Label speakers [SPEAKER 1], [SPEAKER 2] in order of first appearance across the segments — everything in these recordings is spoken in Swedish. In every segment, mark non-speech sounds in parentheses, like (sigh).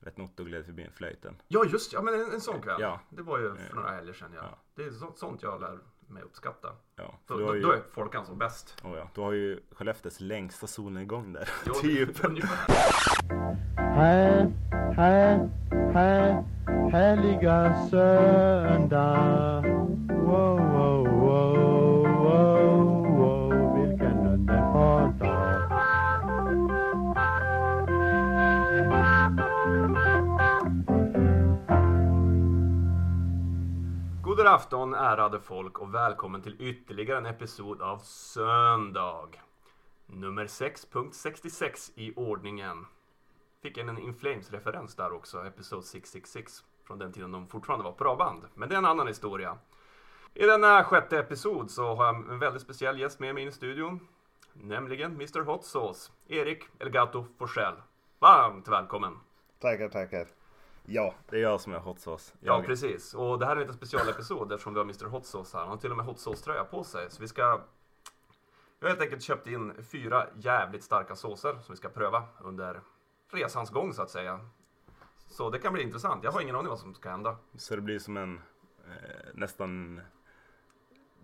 [SPEAKER 1] Rätt noter gled förbi flöjten.
[SPEAKER 2] Ja, just ja, men en, en sån kväll.
[SPEAKER 1] Ja.
[SPEAKER 2] Det var ju för
[SPEAKER 1] Eh,
[SPEAKER 2] några helger sedan. Ja.
[SPEAKER 1] ja.
[SPEAKER 2] Det är så, sånt jag lär mig uppskatta.
[SPEAKER 1] Ja, för
[SPEAKER 2] Då,
[SPEAKER 1] du har
[SPEAKER 2] då,
[SPEAKER 1] ju,
[SPEAKER 2] då är folkan
[SPEAKER 1] (laughs)
[SPEAKER 2] som bäst.
[SPEAKER 1] oh ja, du har ju Skellefteås längsta solnedgång där.
[SPEAKER 2] (laughs) Jo,
[SPEAKER 1] typ.
[SPEAKER 2] ungefär.
[SPEAKER 3] Här, här, här, härliga söndag. Wow, wow, wow, wow, wow, vilken underbar dag.
[SPEAKER 2] God afton ärade folk och välkommen till ytterligare en episod av Söndag. Nummer 6.66 i ordningen. Fick en In Flames-referens där också, Episod 666. Från den tiden de fortfarande var bra band. Men det är en annan historia. I denna sjätte episod så har jag en väldigt speciell gäst med mig in i studion. Nämligen Mr Hot Sauce, Erik Elgato Forsell. Varmt välkommen!
[SPEAKER 4] Tackar, tackar. Ja,
[SPEAKER 1] Det är jag som är hot sauce.
[SPEAKER 2] Ja,
[SPEAKER 1] Jag,
[SPEAKER 2] precis. Och det här är en liten specialepisod eftersom vi har Mr Hot Sauce här. Han har till och med Hot Sauce-tröja på sig. Så vi ska... Jag har helt enkelt köpt in fyra jävligt starka såser som vi ska pröva under resans gång så att säga. Så det kan bli intressant. Jag har ingen aning vad som ska hända.
[SPEAKER 1] Så det blir som en eh, nästan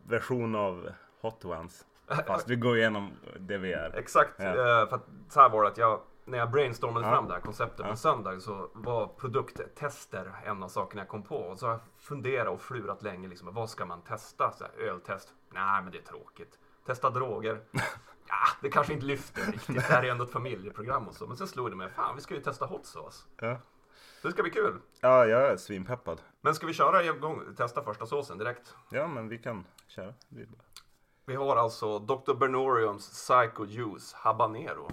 [SPEAKER 1] version av hot
[SPEAKER 2] (laughs)
[SPEAKER 1] ones. Fast vi går igenom det vi är.
[SPEAKER 2] Exakt,
[SPEAKER 1] Ja.
[SPEAKER 2] eh, för att så här var det att jag, när jag brainstormade
[SPEAKER 1] Ja.
[SPEAKER 2] fram det här konceptet
[SPEAKER 1] Ja.
[SPEAKER 2] på söndag så var produkttester en av sakerna jag kom på. Och så har jag funderat och flurat länge, liksom, vad ska man testa? Så här, öltest? Nej, men det är tråkigt. Testa droger?
[SPEAKER 1] (laughs)
[SPEAKER 2] Ja, det kanske inte lyfter riktigt. Det här är ändå ett familjeprogram och så. Men sen slog det mig, fan vi ska ju testa hot sauce.
[SPEAKER 1] Ja,
[SPEAKER 2] Så det ska bli kul.
[SPEAKER 1] ja jag är svinpeppad.
[SPEAKER 2] Men ska vi köra igång, testa första såsen direkt?
[SPEAKER 1] Ja, men vi kan köra. Det är bra.
[SPEAKER 2] Vi har alltså Dr. Bernoriums Psycho Juice Habanero.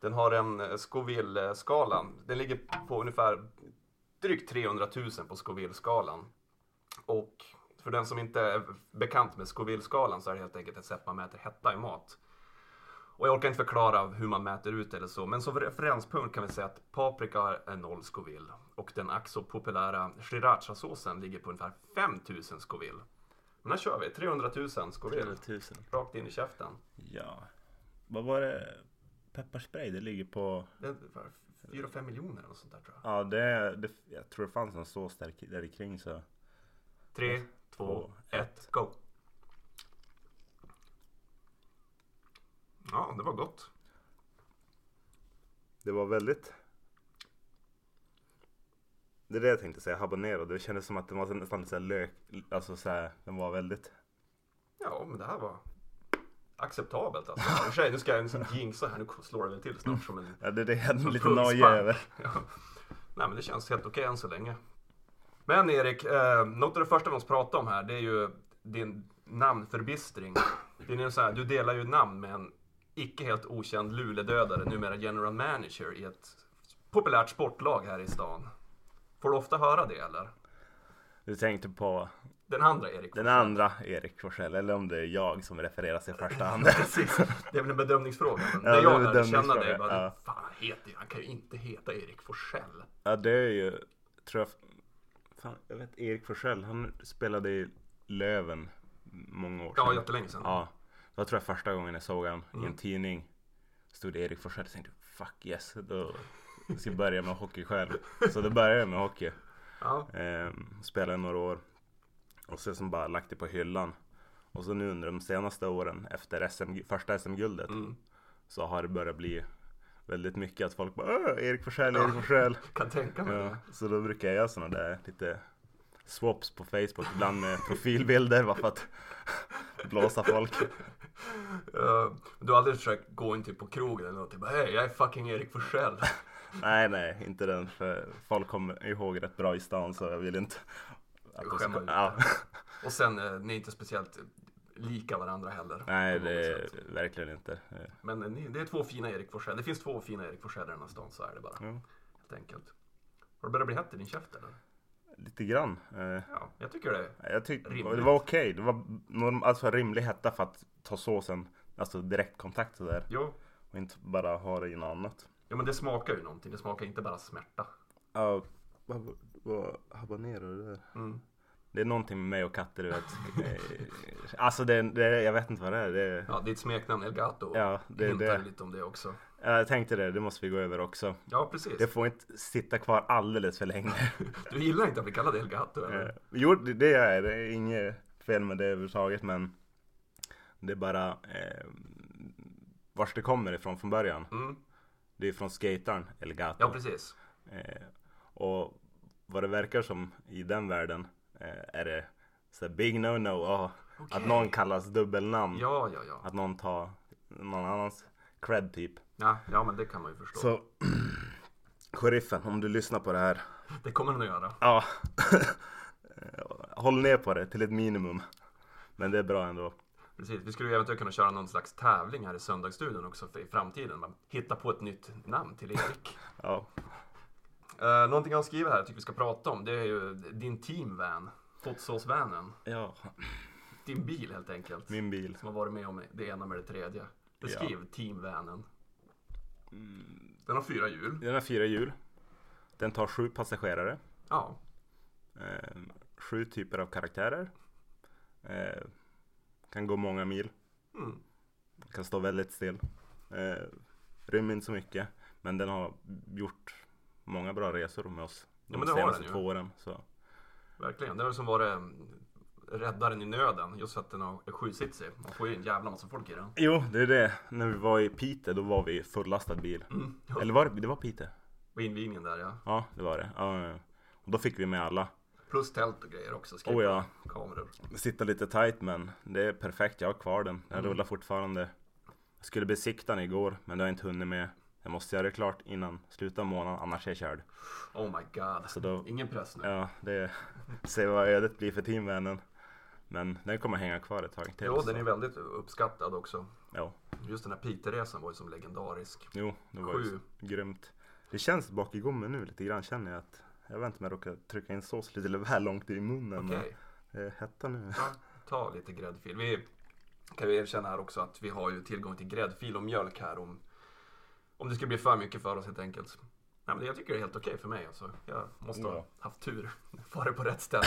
[SPEAKER 2] Den har en eh, Scoville-skala. Den ligger på ungefär drygt 300 000 på Scoville-skalan. Och för den som inte är bekant med Scoville-skalan så är det helt enkelt ett sätt man mäter hetta i mat. Och jag orkar inte förklara hur man mäter ut eller så, men som referenspunkt kan vi säga att paprika är 0 Scoville och den ack så populära srirachasåsen ligger på ungefär 5000 Scoville. Men här kör vi, 300 000 Scoville.
[SPEAKER 1] tusen.
[SPEAKER 2] Rakt in i käften.
[SPEAKER 1] Ja. Vad var det? Pepparspray, det ligger på...
[SPEAKER 2] Det är ungefär 4-5 miljoner eller något sånt där tror jag.
[SPEAKER 1] Ja, det, det, jag tror det fanns en sås där, där kring så...
[SPEAKER 2] 3, 2, 1, go! Ja, det var gott.
[SPEAKER 1] Det var väldigt... Det är det jag tänkte säga, habanero. Det kändes som att det var nästan lite så här lök... Alltså så här, den var väldigt...
[SPEAKER 2] Ja, men det här var acceptabelt alltså. I och för sig, nu ska jag liksom jinxa här. Nu slår det väl till snart som en...
[SPEAKER 1] Ja, det är det jag hade lite
[SPEAKER 2] Pungspark.
[SPEAKER 1] noja över.
[SPEAKER 2] (laughs) Ja. Nej, men det känns helt okej än så länge. Men Erik, eh, något av det första vi måste prata om här, det är ju din namnförbistring. Det är ju så här, du delar ju namn med en icke helt okänd Luledödare, numera general manager i ett populärt sportlag här i stan. Får du ofta höra det eller?
[SPEAKER 1] Du tänkte på
[SPEAKER 2] Den andra Erik.
[SPEAKER 1] den andra Erik Forsell, eller om det är jag som refereras i första hand.
[SPEAKER 2] (laughs) (laughs) Precis, det är väl en bedömningsfråga.
[SPEAKER 1] Ja,
[SPEAKER 2] Men när
[SPEAKER 1] det är
[SPEAKER 2] jag
[SPEAKER 1] en
[SPEAKER 2] lärde känna dig,
[SPEAKER 1] bedömningsfråga,
[SPEAKER 2] bara,
[SPEAKER 1] ja.
[SPEAKER 2] fan han heter ju, han kan ju inte heta Erik Forsell.
[SPEAKER 1] Ja, det är ju... Tror jag... Fan, jag vet Erik Forsell, han spelade i Löven många år
[SPEAKER 2] Ja, jättelänge sedan.
[SPEAKER 1] Ja, det var tror jag första gången jag såg han i en tidning. Stod det Erik Forsell och tänkte fuck yes, då ska jag börja med hockey själv. Så då började jag med hockey.
[SPEAKER 2] Ja.
[SPEAKER 1] Ehm, spelade några år. Och sen som bara lagt det på hyllan. Och så nu under de senaste åren efter SM, första SM-guldet så har det börjat bli väldigt mycket att folk bara "Åh, Erik Forsell, Erik Forsell.
[SPEAKER 2] Kan tänka mig det.
[SPEAKER 1] Ja, så då brukar jag göra sådana där lite swaps på Facebook ibland med profilbilder bara för att (laughs) blåsa folk.
[SPEAKER 2] Eh, du har aldrig försökt gå in typ på krogen eller något och bara hej jag är fucking
[SPEAKER 1] (laughs)
[SPEAKER 2] Erik Forsell.
[SPEAKER 1] Nej, nej, inte den för folk kommer ihåg rätt bra i stan så jag vill inte att de
[SPEAKER 2] Skämma
[SPEAKER 1] ska...
[SPEAKER 2] ut
[SPEAKER 1] Ja.
[SPEAKER 2] och sen eh, ni är inte speciellt lika varandra heller.
[SPEAKER 1] (laughs) Nej,
[SPEAKER 2] på något
[SPEAKER 1] det
[SPEAKER 2] sätt.
[SPEAKER 1] är verkligen inte.
[SPEAKER 2] Men eh, ni, det är två fina Erik Forsell. Det finns två fina Erik Forsell i den här stan så är det bara.
[SPEAKER 1] Ja.
[SPEAKER 2] Helt enkelt. Har det börjat bli hett i din käft eller?
[SPEAKER 1] Lite grann. Eh,
[SPEAKER 2] Ja, jag tycker det.
[SPEAKER 1] Jag tyckte det
[SPEAKER 2] Rimligt.
[SPEAKER 1] var okej. Det var norm- alltså rimlig hetta för att ta såsen, alltså direktkontakt och där.
[SPEAKER 2] Jo.
[SPEAKER 1] Och inte bara ha det i något annat.
[SPEAKER 2] Ja men det smakar ju någonting. Det smakar inte bara smärta.
[SPEAKER 1] Ja, vad, vad habanero det där? Det är någonting med mig och katter du vet. Eh, alltså det, det, jag vet inte vad det är. Det,
[SPEAKER 2] Ja, ditt smeknamn Elgato
[SPEAKER 1] Ja, det är
[SPEAKER 2] hintar
[SPEAKER 1] det.
[SPEAKER 2] lite om det också.
[SPEAKER 1] Jag tänkte det, det måste vi gå över också.
[SPEAKER 2] Ja, precis.
[SPEAKER 1] Det får inte sitta kvar alldeles för länge. (laughs)
[SPEAKER 2] Du gillar inte att bli kallad Helga Hatt, du, eller?
[SPEAKER 1] Eh, Jo, det det gör jag. Det är inget fel med det överhuvudtaget, men det är bara eh, vars det kommer ifrån från början.
[SPEAKER 2] Mm.
[SPEAKER 1] Det är från skataren Elgato.
[SPEAKER 2] Ja, precis.
[SPEAKER 1] Eh, och vad det verkar som i den världen eh, är det så här big no-no ah,
[SPEAKER 2] Okej.
[SPEAKER 1] att någon kallas dubbelnamn.
[SPEAKER 2] Ja, ja, ja.
[SPEAKER 1] Att någon tar någon annans cred typ.
[SPEAKER 2] Ja, ja men det kan man ju förstå.
[SPEAKER 1] Så (clears throat) sheriffen, om du lyssnar på det här.
[SPEAKER 2] Det kommer den att göra.
[SPEAKER 1] Ja. (laughs) Håll ner på det till ett minimum. Men det är bra ändå.
[SPEAKER 2] Precis. Vi skulle ju eventuellt kunna köra någon slags tävling här i söndagsstudion också för i framtiden. Man hittar på ett nytt namn till (laughs) Erik.
[SPEAKER 1] Ja.
[SPEAKER 2] uh, någonting jag skriver här jag tycker vi ska prata om det är ju din teamvan. Hot Sauce-vanen.
[SPEAKER 1] ja.
[SPEAKER 2] Din bil helt enkelt.
[SPEAKER 1] Min bil.
[SPEAKER 2] Som har varit med om det ena med det tredje. Beskriv teamvanen.
[SPEAKER 1] Mm.
[SPEAKER 2] Den har fyra hjul.
[SPEAKER 1] Den har fyra hjul. Den tar sju passagerare.
[SPEAKER 2] Ja,
[SPEAKER 1] Eh, sju typer av karaktärer. Eh, kan gå många mil.
[SPEAKER 2] Mm.
[SPEAKER 1] Kan stå väldigt still. Eh, rymmer inte så mycket. Men den har gjort många bra resor med oss. De
[SPEAKER 2] Ja, men det har
[SPEAKER 1] senaste
[SPEAKER 2] den ju.
[SPEAKER 1] två åren. Så.
[SPEAKER 2] verkligen. Det har liksom varit mm, räddaren i nöden. Just för att den har är sjusitsig. Man får ju en jävla massa folk i den.
[SPEAKER 1] Jo, det är det. När vi var i Piteå, då var vi fullastad bil.
[SPEAKER 2] Mm,
[SPEAKER 1] Eller var det, det var Piteå?
[SPEAKER 2] Och invigningen där ja.
[SPEAKER 1] Ja, det var det. Ja, ja, ja. Och då fick vi med alla.
[SPEAKER 2] Plus tält och grejer också. Skriva
[SPEAKER 1] Oh ja,
[SPEAKER 2] kameror.
[SPEAKER 1] sitta lite tight men det är perfekt. Jag har kvar den.
[SPEAKER 2] Mm.
[SPEAKER 1] Den rullar fortfarande. Jag skulle besikta den igår men det har jag inte hunnit med. Jag måste göra det klart innan slutet av månaden annars är jag körd.
[SPEAKER 2] Oh my god.
[SPEAKER 1] Så då,
[SPEAKER 2] Ingen press nu.
[SPEAKER 1] ja, det (laughs) ser vad ödet blir för teamvännen. Men den kommer hänga kvar ett tag till.
[SPEAKER 2] Jo,
[SPEAKER 1] så-
[SPEAKER 2] den är väldigt uppskattad också.
[SPEAKER 1] ja.
[SPEAKER 2] Just den här Piteå-resan var ju som legendarisk.
[SPEAKER 1] Jo, det var ju
[SPEAKER 2] Sju.
[SPEAKER 1] grymt. Det känns bak i gommen nu lite grann känner jag att jag vet inte om jag råkar trycka in sås lite väl långt i munnen.
[SPEAKER 2] Okej,
[SPEAKER 1] Men det hettar nu.
[SPEAKER 2] ja, ta lite gräddfil. Vi kan ju erkänna här också att vi har ju tillgång till gräddfil och mjölk här om, om det skulle bli för mycket för oss helt enkelt. Nej, men det- jag tycker det är helt okej för mig alltså. Jag måste ha
[SPEAKER 1] Ja.
[SPEAKER 2] haft tur. (laughs) Varit på
[SPEAKER 1] (laughs)
[SPEAKER 2] rätt ställe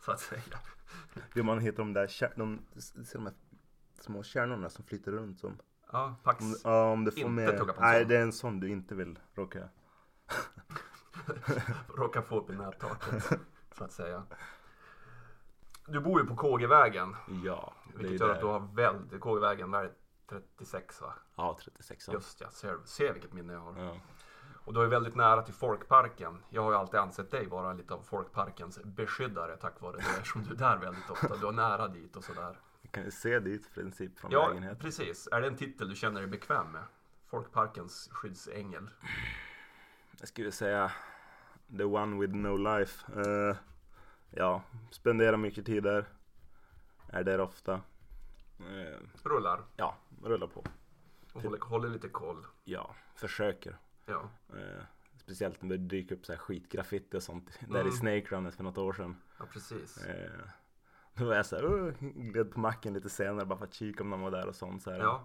[SPEAKER 2] så att säga.
[SPEAKER 1] Jo, man hittar de där kär- de, ser de här små kärnorna som flyter runt som
[SPEAKER 2] Ja, Pax.
[SPEAKER 1] Om- Ja, om du får
[SPEAKER 2] Inte tugga på
[SPEAKER 1] med.
[SPEAKER 2] en
[SPEAKER 1] Nej,
[SPEAKER 2] sån.
[SPEAKER 1] det är en sån du inte vill råka.
[SPEAKER 2] Råkar få upp i nättaket så att säga. Du bor ju på KG-vägen.
[SPEAKER 1] Ja,
[SPEAKER 2] Vilket gör att du har väldigt, KG-vägen, där är 36 va?
[SPEAKER 1] Ja, 36
[SPEAKER 2] Just ja, ser, ser vilket minne jag har.
[SPEAKER 1] Ja.
[SPEAKER 2] Och du är väldigt nära till folkparken. Jag har ju alltid ansett dig vara lite av folkparkens beskyddare tack vare det eftersom du är där väldigt ofta. Du är nära dit och sådär.
[SPEAKER 1] Vi kan ju se dit i princip från
[SPEAKER 2] Ja,
[SPEAKER 1] lägenheten.
[SPEAKER 2] precis. Är det en titel du känner dig bekväm med? Folkparkens skyddsängel.
[SPEAKER 1] Jag skulle säga the one with no life. Eh, ja, spenderar mycket tid där. Är där ofta. Eh,
[SPEAKER 2] Rullar
[SPEAKER 1] ja, rullar på.
[SPEAKER 2] och håller, håller lite koll.
[SPEAKER 1] Ja, försöker.
[SPEAKER 2] Ja,
[SPEAKER 1] Eh, speciellt när det dyker upp så här skitgraffiti och sånt. Där i Snake Runnet för något år sedan.
[SPEAKER 2] ja precis.
[SPEAKER 1] Eh, Då var jag såhär, uh, gled på macken lite senare bara för att kika om de var där och sånt. Så här.
[SPEAKER 2] Ja.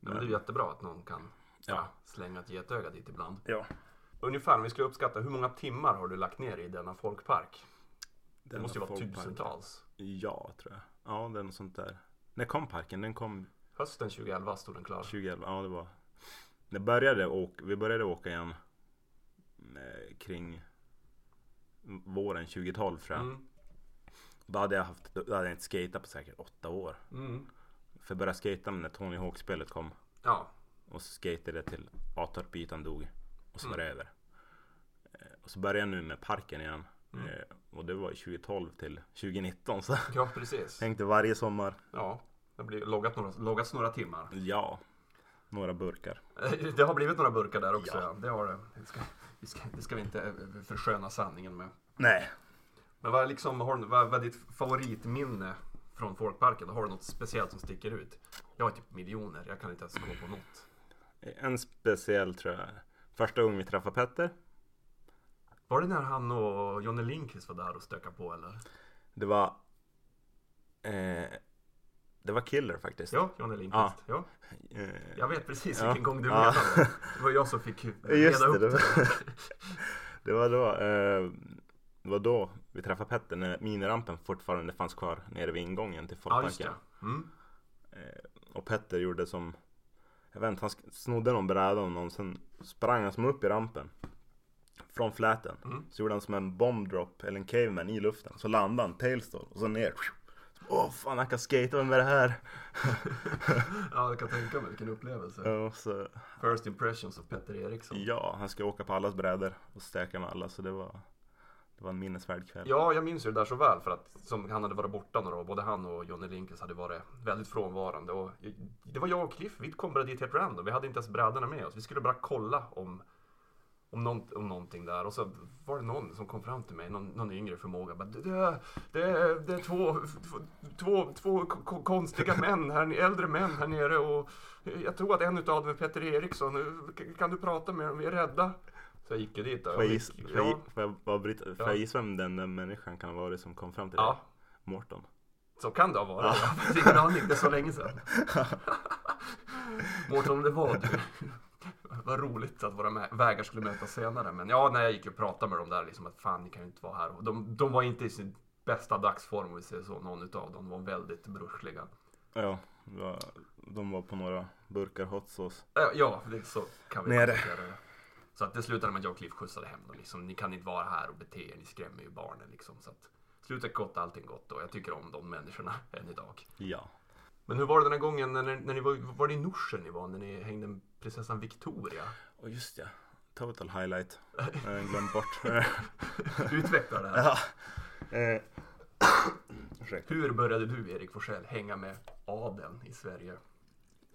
[SPEAKER 2] Men det är ju jättebra att någon kan
[SPEAKER 1] Ja.
[SPEAKER 2] slänga ett getöga dit ibland.
[SPEAKER 1] ja.
[SPEAKER 2] Ungefär, om vi skulle uppskatta, hur många timmar har du lagt ner i denna folkpark? Det
[SPEAKER 1] Den
[SPEAKER 2] måste ju
[SPEAKER 1] har
[SPEAKER 2] vara
[SPEAKER 1] folkpark.
[SPEAKER 2] tusentals.
[SPEAKER 1] Ja, tror jag. Ja, det är något sånt där. När kom parken? Den kom
[SPEAKER 2] Hösten 2011 stod den klar.
[SPEAKER 1] 2011. Ja, det var. Det började åka, vi började åka igen eh, kring våren 2012 tror jag.
[SPEAKER 2] Mm.
[SPEAKER 1] Då hade jag haft, då hade jag inte skatat på säkert åtta år.
[SPEAKER 2] Mm.
[SPEAKER 1] För jag började skata när Tony Hawk-spelet kom.
[SPEAKER 2] Ja,
[SPEAKER 1] Och så skatade jag till Atorpytan dog. Och så var
[SPEAKER 2] Mm.
[SPEAKER 1] det över. Eh, Och så började jag nu med parken igen.
[SPEAKER 2] Mm.
[SPEAKER 1] Eh, Och det var 2012 till 2019. Så (laughs) jag
[SPEAKER 2] ja precis.
[SPEAKER 1] tänkte varje sommar,
[SPEAKER 2] Ja, det har blivit loggat några, loggats några timmar. (laughs)
[SPEAKER 1] ja, några burkar.
[SPEAKER 2] Det har blivit några burkar där också.
[SPEAKER 1] Ja.
[SPEAKER 2] Ja. Det har det. Det ska, det, ska, det ska vi inte eh, försköna sanningen med.
[SPEAKER 1] Nej.
[SPEAKER 2] Men vad, är liksom, har, du- vad, vad är ditt favoritminne från folkparken? Har du något speciellt som sticker ut? Jag har typ miljoner, jag kan inte ens gå på något.
[SPEAKER 1] En speciell tror jag. Första gången vi träffade Petter.
[SPEAKER 2] Var det när han och Johnny Lindqvist var där och stökade på eller?
[SPEAKER 1] Det var... Eh, det var Killer faktiskt.
[SPEAKER 2] Ja, Johnny Lindqvist. Ja.
[SPEAKER 1] Eh,
[SPEAKER 2] Jag vet precis
[SPEAKER 1] Ja.
[SPEAKER 2] vilken gång du
[SPEAKER 1] Ja.
[SPEAKER 2] menar
[SPEAKER 1] (laughs)
[SPEAKER 2] menar. Det var jag som fick eh,
[SPEAKER 1] Just det,
[SPEAKER 2] reda upp
[SPEAKER 1] det
[SPEAKER 2] det.
[SPEAKER 1] var- (laughs) det var då... Eh, det var då vi träffade Petter när minirampen fortfarande fanns kvar nere vid ingången till
[SPEAKER 2] Ja, just
[SPEAKER 1] folkparken.
[SPEAKER 2] det. Mm.
[SPEAKER 1] Och Petter gjorde som Jag vet inte, han sk- snodde någon bräda av någon. Sen sprang han som upp i rampen. Från fläten.
[SPEAKER 2] Mm.
[SPEAKER 1] Så gjorde han som en bomb drop eller en caveman i luften. Så landade han tailstall och så ner. Åh fan, han kan skata, vem är det här? (laughs)
[SPEAKER 2] Ja, jag kan tänka mig vilken upplevelse.
[SPEAKER 1] Ja, så,
[SPEAKER 2] First impressions av Petter Eriksson.
[SPEAKER 1] ja, han ska åka på allas brädor och stäka med alla. Så det var, det var en minnesvärd kväll.
[SPEAKER 2] Ja, jag minns ju det där så väl för att som han hade varit borta några år. Både han och Johnny Linkes hade varit väldigt frånvarande. Och det var jag och Cliff, vi kom bara dit helt random. Vi hade inte ens brädorna med oss. Vi skulle bara kolla om, om, någon, om någonting där. Och så var det någon som kom fram till mig, någon, någon yngre förmåga. Bara, det, är- det, är- det är två, två, två ko- ko- konstiga män, här, nere- äldre män här nere. Och jag tror att en utav dem är Peter Eriksson. Kan du prata med dem? Vi är rädda. Så jag gick ju dit. Då.
[SPEAKER 1] Får jag,
[SPEAKER 2] gick-
[SPEAKER 1] gissa, får, jag,
[SPEAKER 2] ja,
[SPEAKER 1] gi- får, jag, bara bryta, får
[SPEAKER 2] Ja.
[SPEAKER 1] jag gissa vem den där människan kan ha varit som kom fram till
[SPEAKER 2] ja,
[SPEAKER 1] det? Mårten?
[SPEAKER 2] Så kan det ha varit. Jag har ingen aning, det är så länge sedan. Mårten, det var du. Vad roligt att våra mä- vägar skulle mötas senare. Men ja, när jag gick och pratade med dem där, liksom att fan, ni kan ju inte vara här. Och de, de var inte i sin bästa dagsform om vi säger så. Någon utav dem var väldigt bruschliga.
[SPEAKER 1] Ja, det var, de var på några burkar hot sauce.
[SPEAKER 2] Äh, Ja, det, så kan vi
[SPEAKER 1] Nere.
[SPEAKER 2] konstatera det. Så att det slutade med att jag och Cliff skjutsade hem dem. Liksom, ni kan inte vara här och bete er, ni skrämmer ju barnen liksom. Så att slutet gott, allting gott. Och jag tycker om de människorna än idag.
[SPEAKER 1] Ja.
[SPEAKER 2] Men hur var det den här gången när, när ni var, var det i Norsen ni var när ni hängde prinsessan Victoria?
[SPEAKER 1] Och just ja, total
[SPEAKER 2] (laughs)
[SPEAKER 1] highlight. Eh, Glömt bort.
[SPEAKER 2] Utveckla
[SPEAKER 1] (laughs)
[SPEAKER 2] det här.
[SPEAKER 1] ja. Eh, ursäkta.
[SPEAKER 2] Hur började du Erik Forsell hänga med adeln i Sverige?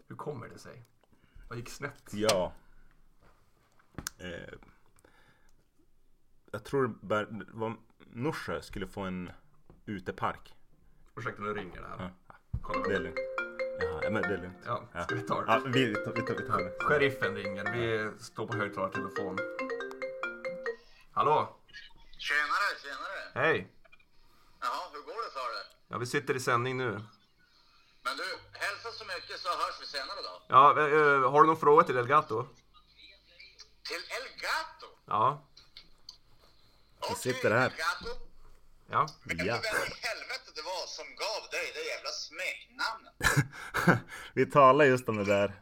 [SPEAKER 2] Hur kommer det sig? Vad gick snett?
[SPEAKER 1] Ja. Eh, jag tror det bär- det var Norsjö skulle få en utepark.
[SPEAKER 2] Ursäkta nu ringer det här.
[SPEAKER 1] Ja.
[SPEAKER 2] Kolla.
[SPEAKER 1] Det är lugnt. Jaha, ja, men det är lugnt.
[SPEAKER 2] Ja,
[SPEAKER 1] Ja.
[SPEAKER 2] ska vi ta
[SPEAKER 1] Ja,
[SPEAKER 2] det?
[SPEAKER 1] vi, vi, tar- vi, tar- vi tar det. (laughs)
[SPEAKER 2] Sheriffen ringer. Vi står på högtalartelefon. Hallå?
[SPEAKER 5] Tjenare, tjenare!
[SPEAKER 2] Hej!
[SPEAKER 5] Jaha, hur går det sa du?
[SPEAKER 2] Ja, vi sitter i sändning nu.
[SPEAKER 5] Men du, hälsa så mycket så hörs vi senare då.
[SPEAKER 2] Ja, eh, eh, har du någon fråga till Elgato?
[SPEAKER 5] Till El Gato!
[SPEAKER 2] Ja.
[SPEAKER 5] Okej,
[SPEAKER 1] sitter här.
[SPEAKER 5] El Gato.
[SPEAKER 2] Ja.
[SPEAKER 5] Vet
[SPEAKER 1] Ja.
[SPEAKER 5] du vem i helvete det var som gav dig det jävla smeknamnet?
[SPEAKER 1] vi talar just om det där.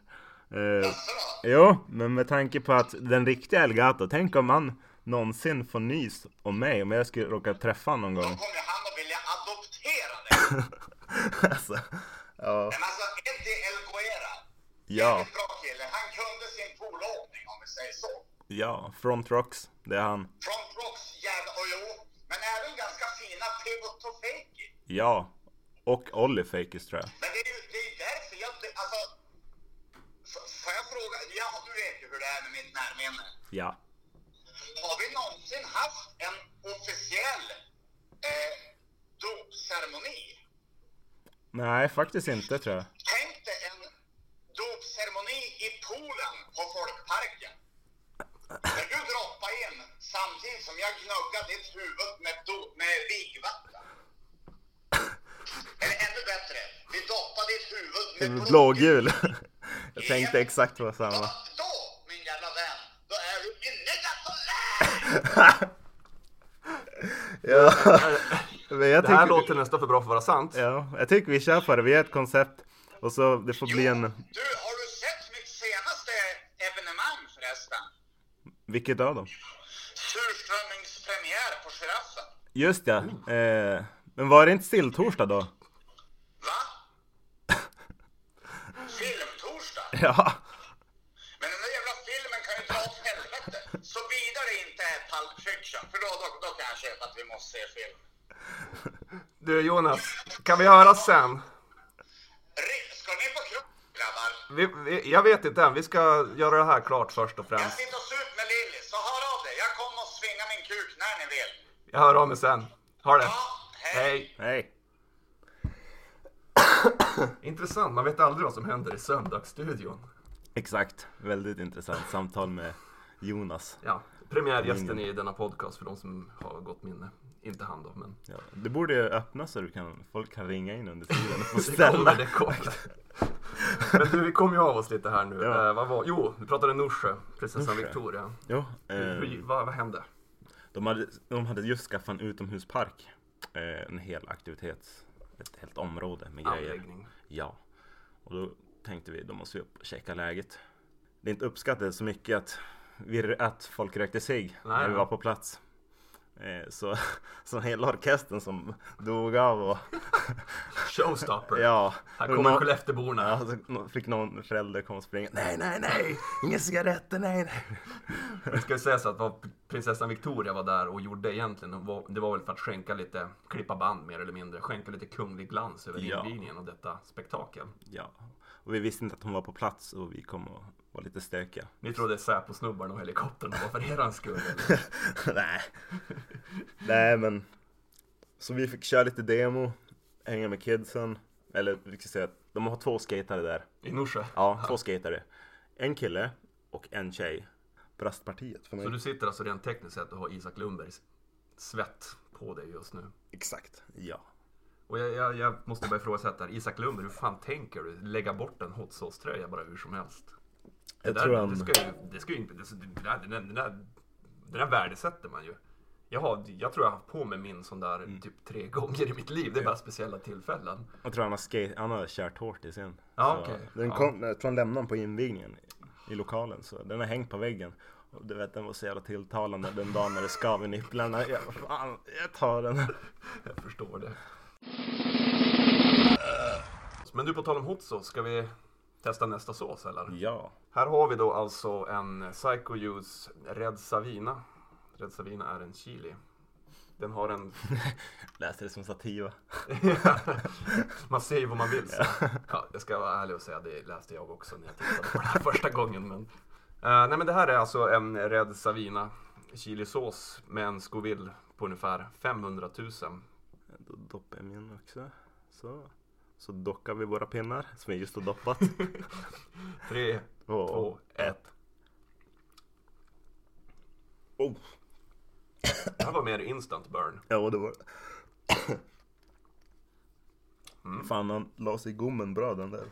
[SPEAKER 1] Eh,
[SPEAKER 5] Jaså då?
[SPEAKER 1] Jo, men med tanke på att den riktiga Elgato, tänk om han någonsin får nys om mig, om jag skulle råka träffa honom någon
[SPEAKER 5] Då
[SPEAKER 1] gång. (laughs)
[SPEAKER 5] kommer ju han att vilja adoptera dig!
[SPEAKER 1] alltså, ja.
[SPEAKER 5] Men alltså, Eddie El Guera.
[SPEAKER 1] ja,
[SPEAKER 5] Jävligt bra kille. Han kunde sin poolåkning om vi säger så.
[SPEAKER 1] ja, Front Rocks, det är han.
[SPEAKER 5] Front Rocks jävla... Och jo, men även ganska fina Pivotofeki.
[SPEAKER 1] Ja, och Olli Fakis tror jag.
[SPEAKER 5] Men det är ju det är ju därför jag... det- Alltså, f- får jag fråga? Ja, du vet ju hur det är med mitt närminne.
[SPEAKER 1] Ja.
[SPEAKER 5] Har vi någonsin haft en officiell eh, dopceremoni?
[SPEAKER 1] Nej, faktiskt inte tror jag.
[SPEAKER 5] Tänk dig en dopceremoni i poolen på Folkparken. Där du droppade in samtidigt som jag gnuggade ditt huvud med, do- med vigvatten. Eller ännu bättre, vi doppade ditt huvud med
[SPEAKER 1] Blågul. (laughs) jag tänkte exakt på
[SPEAKER 5] Ja,
[SPEAKER 1] samma.
[SPEAKER 5] då, min jävla vän, då är du min negativa
[SPEAKER 1] Ja. men jag
[SPEAKER 2] Det här
[SPEAKER 1] tycker,
[SPEAKER 2] låter nästan för bra för att vara sant.
[SPEAKER 1] ja, jag tycker vi kör på det, vi har ett koncept. Och så det får bli en...
[SPEAKER 5] Du, har du sett mitt senaste evenemang förresten?
[SPEAKER 1] Vilket av dem?
[SPEAKER 5] Surströmmingspremiär på Giraffen.
[SPEAKER 1] Just ja.
[SPEAKER 2] Mm.
[SPEAKER 1] Eh, men var det inte silltorsdag då? (laughs)
[SPEAKER 5] Va? Filmtorsdag?
[SPEAKER 1] Ja.
[SPEAKER 5] Men den där jävla filmen kan ju dra åt helvete. Såvida det inte är Pulp Fiction, för då, då, då kan jag köpa att vi måste se film.
[SPEAKER 2] Du Jonas, kan vi höras sen?
[SPEAKER 5] Ri- Ska ni på krog, grabbar?
[SPEAKER 2] Vi, vi, jag vet inte än, vi ska göra det här klart först och
[SPEAKER 5] Jag
[SPEAKER 2] främst.
[SPEAKER 5] sitter och super med Lilly, så hör av dig. Jag kommer att svinga min kuk när ni vill.
[SPEAKER 2] Jag hör av mig sen. Ha det!
[SPEAKER 5] Ja, hej.
[SPEAKER 1] Nej.
[SPEAKER 2] Hej! Intressant, man vet aldrig vad som händer i söndagsstudion.
[SPEAKER 1] Exakt. Väldigt intressant samtal med Jonas.
[SPEAKER 2] Ja, premiärgästen i denna podcast för de som har gott minne. Inte han då, men
[SPEAKER 1] Ja. Det borde ju öppna så du kan, folk kan ringa in under tiden och
[SPEAKER 2] (laughs)
[SPEAKER 1] få
[SPEAKER 2] det kommer,
[SPEAKER 1] ställa.
[SPEAKER 2] det kommer. Men du, vi kom ju av oss lite här nu.
[SPEAKER 1] Ja.
[SPEAKER 2] Eh, vad var, jo, vi pratade Norsjö, prinsessan
[SPEAKER 1] Norsjö.
[SPEAKER 2] Victoria.
[SPEAKER 1] Jo,
[SPEAKER 2] Hur,
[SPEAKER 1] eh,
[SPEAKER 2] vad, vad hände?
[SPEAKER 1] de, hade, de hade just skaffat en utomhuspark. Eh, en hel aktivitets... Ett helt område med grejer.
[SPEAKER 2] Anläggning.
[SPEAKER 1] Ja. Och då tänkte vi, då måste vi upp och checka läget. Det är inte uppskattat så mycket att, vi, att folk rökte sig när vi
[SPEAKER 2] nej.
[SPEAKER 1] var på plats. Eh, Så, (laughs) så hela orkestern som dog av
[SPEAKER 2] (laughs)
[SPEAKER 1] och
[SPEAKER 2] Showstopper.
[SPEAKER 1] ja.
[SPEAKER 2] Här
[SPEAKER 1] Och
[SPEAKER 2] kommer
[SPEAKER 1] nå-
[SPEAKER 2] Skellefteåborna.
[SPEAKER 1] Ja, så nå- fick någon förälder komma och springa. Nej, nej, nej! Inga cigaretter, nej, nej! (laughs)
[SPEAKER 2] Det ska ju sägas att vad prinsessan Victoria var där och gjorde egentligen, var- det var väl för att skänka lite, klippa band mer eller mindre, skänka lite kunglig glans över
[SPEAKER 1] Ja.
[SPEAKER 2] invigningen av detta spektakel.
[SPEAKER 1] Ja, och vi visste inte att hon var på plats och vi kom och var lite stökiga. (laughs)
[SPEAKER 2] Ni trodde Säpo-snubbarna och helikoptern var för erans skull. eller?
[SPEAKER 1] Nej. Nej men. Så vi fick köra lite demo, hänga med kidsen. Eller vi ska säga att de har två skatare där.
[SPEAKER 2] I Norsjö.
[SPEAKER 1] Ja, två skatare. En kille och en tjej. Brastpartiet för mig.
[SPEAKER 2] Så du sitter alltså rent tekniskt sett och har Isak Lundbergs svett på dig just nu.
[SPEAKER 1] Exakt, ja.
[SPEAKER 2] Och jag, jag, jag måste bara ifrågasätta, här, Isak Lundberg, hur fan tänker du? Lägga bort en hot sauce-tröja bara hur som helst?
[SPEAKER 1] Jag
[SPEAKER 2] där,
[SPEAKER 1] tror
[SPEAKER 2] det
[SPEAKER 1] han...
[SPEAKER 2] ska ju, det ska ju inte, det, det där, den, där, den, där, den där värdesätter man ju. Jag, har, jag tror jag har haft på mig min sån där
[SPEAKER 1] Mm.
[SPEAKER 2] typ tre gånger i mitt liv. Det är bara speciella tillfällen.
[SPEAKER 1] Jag tror han har, skate... han har kört hårt i sin.
[SPEAKER 2] Ja,
[SPEAKER 1] Så
[SPEAKER 2] okej.
[SPEAKER 1] Den
[SPEAKER 2] Ja.
[SPEAKER 1] kom... Jag tror han lämnade den på invigningen i lokalen. Så den har hängt på väggen. Och du vet den var så jävla tilltalande den dagen när det skav i nipplarna. Jag, fan, jag tar den.
[SPEAKER 2] Jag förstår det. Men du, på tal om hot sauce, ska vi testa nästa sås eller?
[SPEAKER 1] Ja.
[SPEAKER 2] Här har vi då alltså en Psycho Juice Red Savina. Red Savina är en chili. Den har en...
[SPEAKER 1] (laughs) Läste det som sativa.
[SPEAKER 2] (laughs) man ser ju vad man vill. Så. Ja, jag ska vara ärlig och säga det läste jag också när jag tittade på den här första gången. Men... Eh, nej men det här är alltså en Red Savina chilisås med en Scoville på ungefär 500 000.
[SPEAKER 1] Då doppar jag min också. Så. Så dockar vi våra pinnar som vi just har doppat.
[SPEAKER 2] (laughs) 3,
[SPEAKER 1] Två,
[SPEAKER 2] 2, 1.
[SPEAKER 1] Oh.
[SPEAKER 2] Det här var mer instant burn.
[SPEAKER 1] Ja, och det var
[SPEAKER 2] Mm.
[SPEAKER 1] Fan, han la sig i gommen bra den där.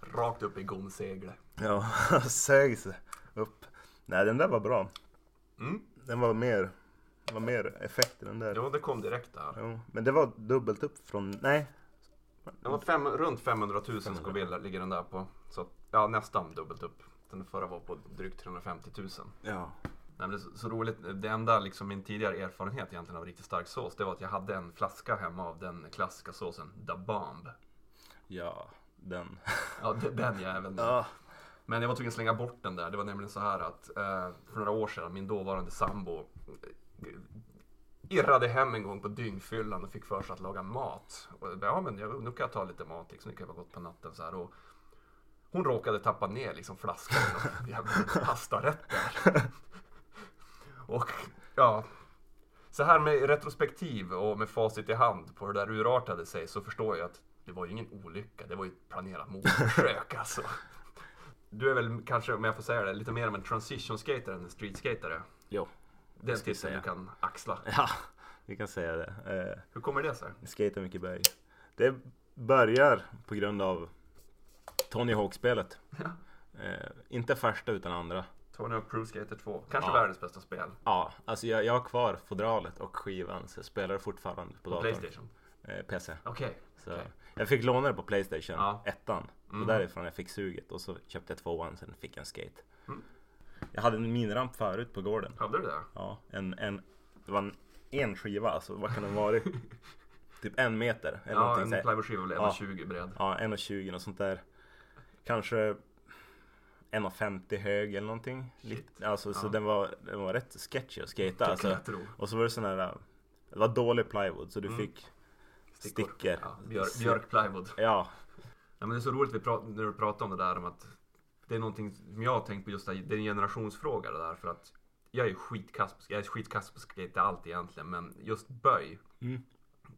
[SPEAKER 2] Rakt upp i gomseglet.
[SPEAKER 1] Ja, (laughs) han sög sig upp. Nej, den där var bra.
[SPEAKER 2] Mm.
[SPEAKER 1] Den var mer, var mer effekt i den där.
[SPEAKER 2] Jo, det kom direkt där.
[SPEAKER 1] Jo, men det var dubbelt upp från, nej.
[SPEAKER 2] Det var fem, runt 500 000 Scoville ligger den där på. Så att, ja, nästan dubbelt upp. Den förra var på drygt 350 000.
[SPEAKER 1] Ja.
[SPEAKER 2] Nej, men det är så, så roligt. Det enda liksom, min tidigare erfarenhet egentligen av riktigt stark sås, det var att jag hade en flaska hemma av den klassiska såsen Da Bomb.
[SPEAKER 1] Ja, den.
[SPEAKER 2] Ja, det- den jäveln.
[SPEAKER 1] Ja.
[SPEAKER 2] Men jag var tvungen att slänga bort den där. Det var nämligen så här att eh, för några år sedan, min dåvarande sambo eh, irrade hem en gång på dyngfyllan och fick för sig att laga mat. Och, jag bara, ja, men jag, nu kan jag ta lite mat, liksom. nu kan jag vara gott på natten. Så här. Och hon råkade tappa ner liksom, flaskan i någon (laughs) jävla pastarätt där. (laughs) Och ja, så här med retrospektiv och med facit i hand på hur det där urartade sig så förstår jag att det var ju ingen olycka, det var ju ett planerat mordförsök (laughs) alltså. Du är väl kanske, om jag får säga det, lite mer av en transition skater än en street skater.
[SPEAKER 1] (laughs) Jo.
[SPEAKER 2] Den
[SPEAKER 1] ska jag
[SPEAKER 2] titeln du
[SPEAKER 1] säga.
[SPEAKER 2] kan axla.
[SPEAKER 1] Ja, vi kan säga det. Eh,
[SPEAKER 2] Hur kommer det sig?
[SPEAKER 1] Skate mycket berg. Det börjar på grund av Tony Hawk-spelet. Eh, inte första utan andra.
[SPEAKER 2] Tony Hawk Pro Skater 2, kanske
[SPEAKER 1] Ja.
[SPEAKER 2] världens bästa spel.
[SPEAKER 1] Ja, alltså jag, jag har kvar fodralet och skivan så jag spelar det fortfarande på datorn.
[SPEAKER 2] Playstation.
[SPEAKER 1] Eh, PC.
[SPEAKER 2] Okej.
[SPEAKER 1] Så
[SPEAKER 2] okej.
[SPEAKER 1] Jag fick låna det på Playstation,
[SPEAKER 2] Ja. Mm.
[SPEAKER 1] ettan. Och därifrån jag fick suget och så köpte jag tvåan sen fick jag en skate.
[SPEAKER 2] Mm.
[SPEAKER 1] Jag hade en miniramp förut på gården.
[SPEAKER 2] Hade du det?
[SPEAKER 1] Ja, en, en, det var en, en skiva alltså, vad kan den
[SPEAKER 2] (laughs)
[SPEAKER 1] vara? typ en meter. Eller
[SPEAKER 2] Ja,
[SPEAKER 1] någonting så
[SPEAKER 2] en
[SPEAKER 1] här.
[SPEAKER 2] plywoodskiva blev
[SPEAKER 1] Ja.
[SPEAKER 2] 20 bred.
[SPEAKER 1] Ja, 1,20 och sånt där. Kanske 1,50 hög eller någonting. Litt- Alltså, så den, var, den var rätt sketchy att skata.
[SPEAKER 2] kan
[SPEAKER 1] Alltså.
[SPEAKER 2] jag tro.
[SPEAKER 1] Och så var det sån här, äh, det var dålig plywood så du fick
[SPEAKER 2] Mm. Stickor.
[SPEAKER 1] stickor.
[SPEAKER 2] Ja, björk, björk plywood.
[SPEAKER 1] Ja,
[SPEAKER 2] Ja, men det är så roligt vi pra- när du pratar om det där om att det är någonting som jag har tänkt på just det, här, det är en generationsfråga det där för att jag är skitkass på, jag är skitkass på skate allt egentligen men just böj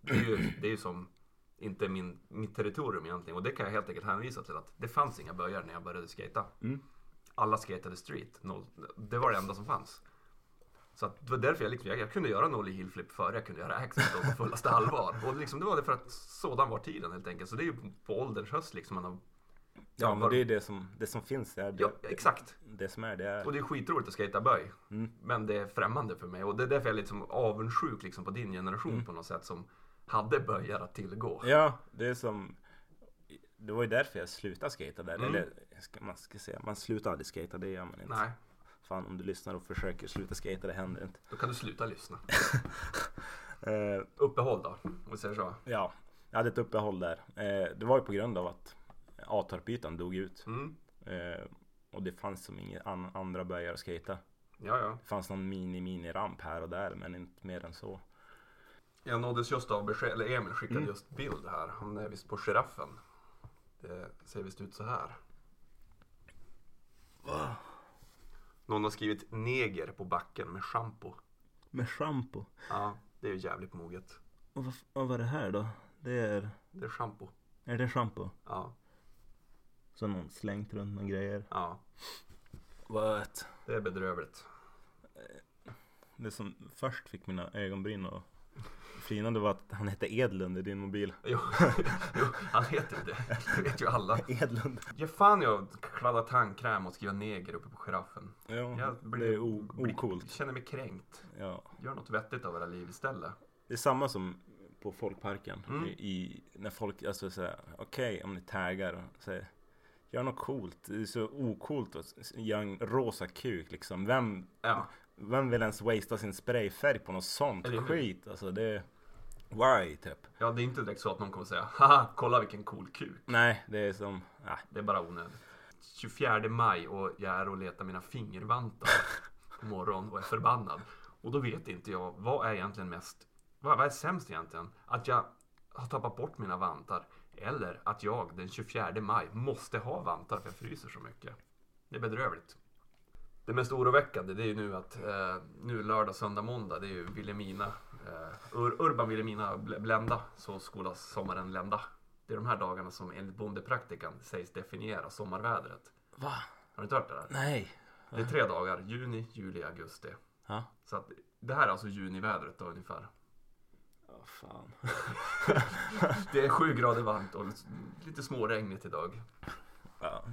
[SPEAKER 2] det, är ju, det är ju som inte min, mitt territorium egentligen och det kan jag helt enkelt hänvisa till att det fanns inga böjar när jag började skata. Alla skatade street, noll, det var det enda som fanns. Så att det var därför jag, liksom, jag, jag kunde göra nollie hillflip före jag kunde göra axel då på fullaste (laughs) allvar. Och liksom, det var det för att sådan var tiden helt enkelt. Så det är ju på, på ålderns höst liksom man har
[SPEAKER 1] ja
[SPEAKER 2] var-
[SPEAKER 1] men det är det som, det som finns där. Det,
[SPEAKER 2] Ja, exakt.
[SPEAKER 1] det som är det är.
[SPEAKER 2] Och det är skitroligt att skata böj. Men det är främmande för mig. Och det är därför jag är liksom avundsjuk liksom på din generation på något sätt som hade böjar att tillgå.
[SPEAKER 1] Ja, det är som Det var ju därför jag slutade skata där. Eller ska man ska säga, man slutar aldrig skata, det gör man inte.
[SPEAKER 2] Mm. Nej,
[SPEAKER 1] Fan om du lyssnar och försöker sluta skata, det händer inte.
[SPEAKER 2] då kan du sluta lyssna.
[SPEAKER 1] Eh,
[SPEAKER 2] Uppehåll då, om vi säger så.
[SPEAKER 1] ja, jag hade ett uppehåll där. Eh, det var ju på grund av att Atorpytan dog ut.
[SPEAKER 2] Mm.
[SPEAKER 1] Eh, och det fanns som inga an- andra böjar att skata.
[SPEAKER 2] Ja, ja.
[SPEAKER 1] Det fanns någon mini-mini-ramp här och där, men inte mer än så.
[SPEAKER 2] Jag nåddes just av besked, eller Emil skickade just bild här. Han är visst på giraffen. Det ser visst ut så här. Någon har skrivit neger på backen med schampo.
[SPEAKER 1] Med schampo.
[SPEAKER 2] Ja, det är ju jävligt moget.
[SPEAKER 1] Och vad, vad var det här då? Det är...
[SPEAKER 2] Det är schampo.
[SPEAKER 1] Är det schampo?
[SPEAKER 2] Ja,
[SPEAKER 1] Så någon slängt runt några grejer.
[SPEAKER 2] ja.
[SPEAKER 1] What?
[SPEAKER 2] Det är bedrövligt.
[SPEAKER 1] Det som först fick mina ögonbryn att flina det var att han hette Edlund i din mobil.
[SPEAKER 2] Jo, (laughs) jo han heter ju det. Det vet ju (laughs) alla.
[SPEAKER 1] Edlund?
[SPEAKER 2] Ge fan jag kladdar tandkräm och skriva neger uppe på giraffen.
[SPEAKER 1] Ja,
[SPEAKER 2] Jag
[SPEAKER 1] det är o-
[SPEAKER 2] blir-
[SPEAKER 1] ocoolt.
[SPEAKER 2] känner mig kränkt.
[SPEAKER 1] Ja.
[SPEAKER 2] Gör något vettigt av era liv istället.
[SPEAKER 1] Det är samma som på folkparken. I, i, när folk, alltså såhär, okej om ni taggar och säger Gör något coolt. Det är så ocoolt att s- göra en rosa kuk liksom. Vem,
[SPEAKER 2] Ja.
[SPEAKER 1] vem vill ens wastea sin sprayfärg på något sånt
[SPEAKER 2] Eller hur?
[SPEAKER 1] skit? Alltså det... Why typ?
[SPEAKER 2] Ja, det är inte direkt så att någon kommer säga Haha, kolla vilken cool kuk.
[SPEAKER 1] Nej, det är som... Ah,
[SPEAKER 2] Det är bara onödigt. 24 maj och jag är och letar mina fingervantar på morgonen och är förbannad. Och då vet inte jag, vad är egentligen mest... Vad, vad är sämst egentligen? Att jag har tappat bort mina vantar. Eller att jag den 24 maj måste ha vantar för jag fryser så mycket. Det är bedrövligt. Det mest oroväckande det är ju nu att eh, nu lördag, söndag, måndag det är ju Vilhelmina, eh, Ur- Urban Vilhelmina Bl- Blända, så skolas sommaren lända. Det är de här dagarna som enligt bondepraktikan sägs definiera sommarvädret.
[SPEAKER 1] va?
[SPEAKER 2] Har du inte hört det där?
[SPEAKER 1] Nej.
[SPEAKER 2] Det är tre dagar, juni, juli, augusti.
[SPEAKER 1] Ja.
[SPEAKER 2] Så att, det här är alltså junivädret då ungefär.
[SPEAKER 1] Oh, (laughs) fan.
[SPEAKER 2] Det är sju grader varmt och lite småregnigt idag.
[SPEAKER 1] Ja.